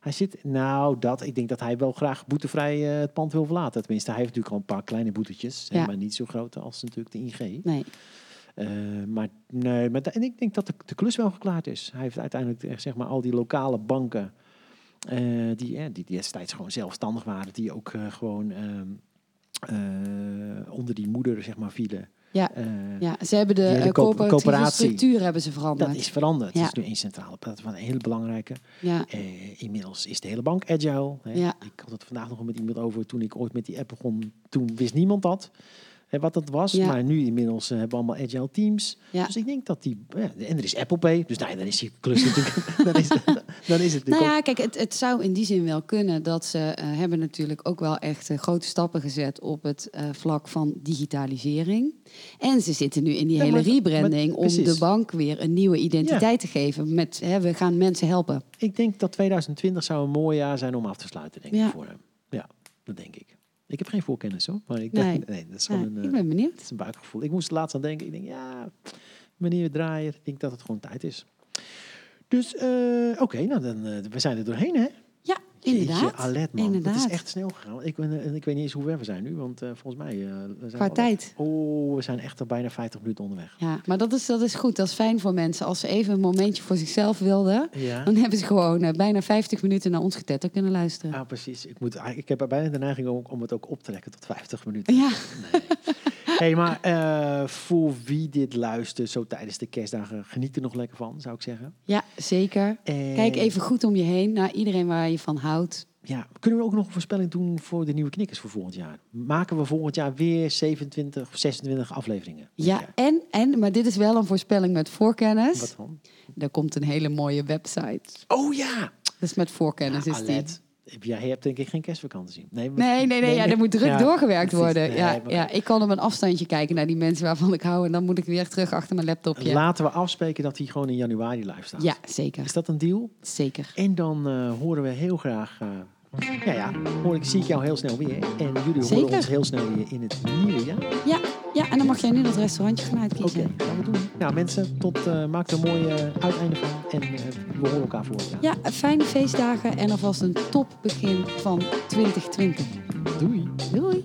B: Hij zit, nou, dat, ik denk dat hij wel graag boetevrij eh, het pand wil verlaten. Tenminste, hij heeft natuurlijk al een paar kleine boetetjes. hè,
C: Ja.
B: maar niet zo groot als natuurlijk de ING.
C: Nee.
B: Eh, maar nee, maar da- en ik denk dat de, de klus wel geklaard is. Hij heeft uiteindelijk eh, zeg maar, al die lokale banken, eh, die, eh, die destijds gewoon zelfstandig waren, die ook eh, gewoon ehm, eh, onder die moeder zeg maar, vielen.
C: Ja.
B: Eh,
C: ja, ze hebben de
B: Die hele
C: eh,
B: co-
C: coöperatieve
B: coöperatie.
C: structuur hebben ze veranderd.
B: Dat is veranderd.
C: Ja.
B: Het is nu één centrale platform, een hele belangrijke.
C: ja.
B: Eh, inmiddels is de hele bank agile. Hè.
C: Ja.
B: Ik had het vandaag nog met iemand over toen ik ooit met die app begon. Toen wist niemand dat. Hè, wat dat was.
C: Ja.
B: Maar nu inmiddels eh, hebben we allemaal agile teams.
C: Ja.
B: Dus ik denk dat die. ja, en er is Apple Pay. Dus nou, ja, dan is die klus natuurlijk. [laughs] dan, is, dan is het natuurlijk.
C: Nou
B: ook-
C: ja, kijk, het, het zou in die zin wel kunnen dat ze eh, hebben natuurlijk ook wel echt eh, grote stappen gezet op het eh, vlak van digitalisering. En ze zitten nu in die
B: Ja,
C: hele
B: maar-
C: rebranding
B: maar-
C: om
B: precies.
C: de bank weer een nieuwe identiteit te geven. Met hè, we gaan mensen helpen.
B: Ik denk dat 2020 zou een mooi jaar zijn om af te sluiten, denk
C: Ja.
B: ik voor hem. Ja, dat denk ik. Ik heb geen voorkennis hoor. Maar ik
C: Nee.
B: nee, dat is
C: Ja,
B: gewoon een,
C: ik
B: eh,
C: ben benieuwd.
B: Het is een buikgevoel. Ik moest er laatst aan denken. Ik denk, ja, meneer Draaier, ik denk dat het gewoon tijd is. Dus, eh, oké, nou dan, eh, we zijn er doorheen, hè?
C: Ja, inderdaad.
B: Jeetje, alert, man.
C: Inderdaad.
B: Het is echt snel gegaan. Ik, ben, eh, ik weet niet eens hoe ver we zijn nu, want eh, volgens mij... eh, we zijn
C: Qua
B: wel-
C: tijd.
B: Oh, we zijn echt al bijna 50 minuten onderweg.
C: Ja, maar dat is, dat is goed. Dat is fijn voor mensen. Als ze even een momentje voor zichzelf wilden,
B: Ja.
C: dan hebben ze gewoon eh, bijna 50 minuten naar ons getetter kunnen luisteren.
B: Ah, precies. Ik, moet, eigenlijk- ik heb er bijna de neiging om, om het ook op te trekken tot 50 minuten.
C: Ja.
B: Nee. hey, maar eh, voor wie dit luistert, zo tijdens de kerstdagen, geniet er nog lekker van, zou ik zeggen.
C: Ja, zeker.
B: En-
C: Kijk even goed om je heen naar iedereen waar je van houdt.
B: Ja, kunnen we ook nog een voorspelling doen voor de nieuwe knikkers voor volgend jaar? Maken we volgend jaar weer 27 of 26 afleveringen?
C: Ja, en, en, maar dit is wel een voorspelling met voorkennis.
B: Wat dan?
C: Er komt een hele mooie website.
B: Oh ja!
C: Dus met voorkennis is die.
B: Alert. Jij hebt denk ik geen kerstvakantie. Nee, maar-
C: Nee, nee, nee. Ja,
B: nee.
C: er moet druk
B: Ja,
C: doorgewerkt
B: precies.
C: worden.
B: Nee,
C: Ja,
B: maar-
C: ja, ik kan op een afstandje kijken naar die mensen waarvan ik hou. En dan moet ik weer terug achter mijn laptopje.
B: Laten we afspreken dat hij gewoon in januari live staat.
C: Ja, zeker.
B: Is dat een deal?
C: Zeker.
B: En dan eh, horen we heel graag. eh ja, ja, hoor ik, zie ik jou heel snel weer. En jullie horen
C: Zeker.
B: ons heel snel weer in het nieuwe jaar. Oké,
C: Ja, ja, en dan mag jij nu dat restaurantje gaan uitkiezen.
B: gaan we doen. Nou, mensen, tot, eh, maak er een mooi eh, uiteinde van. En eh, we horen elkaar voor het jaar.
C: Ja, fijne feestdagen en alvast een top begin van 2020.
B: Doei.
C: Doei!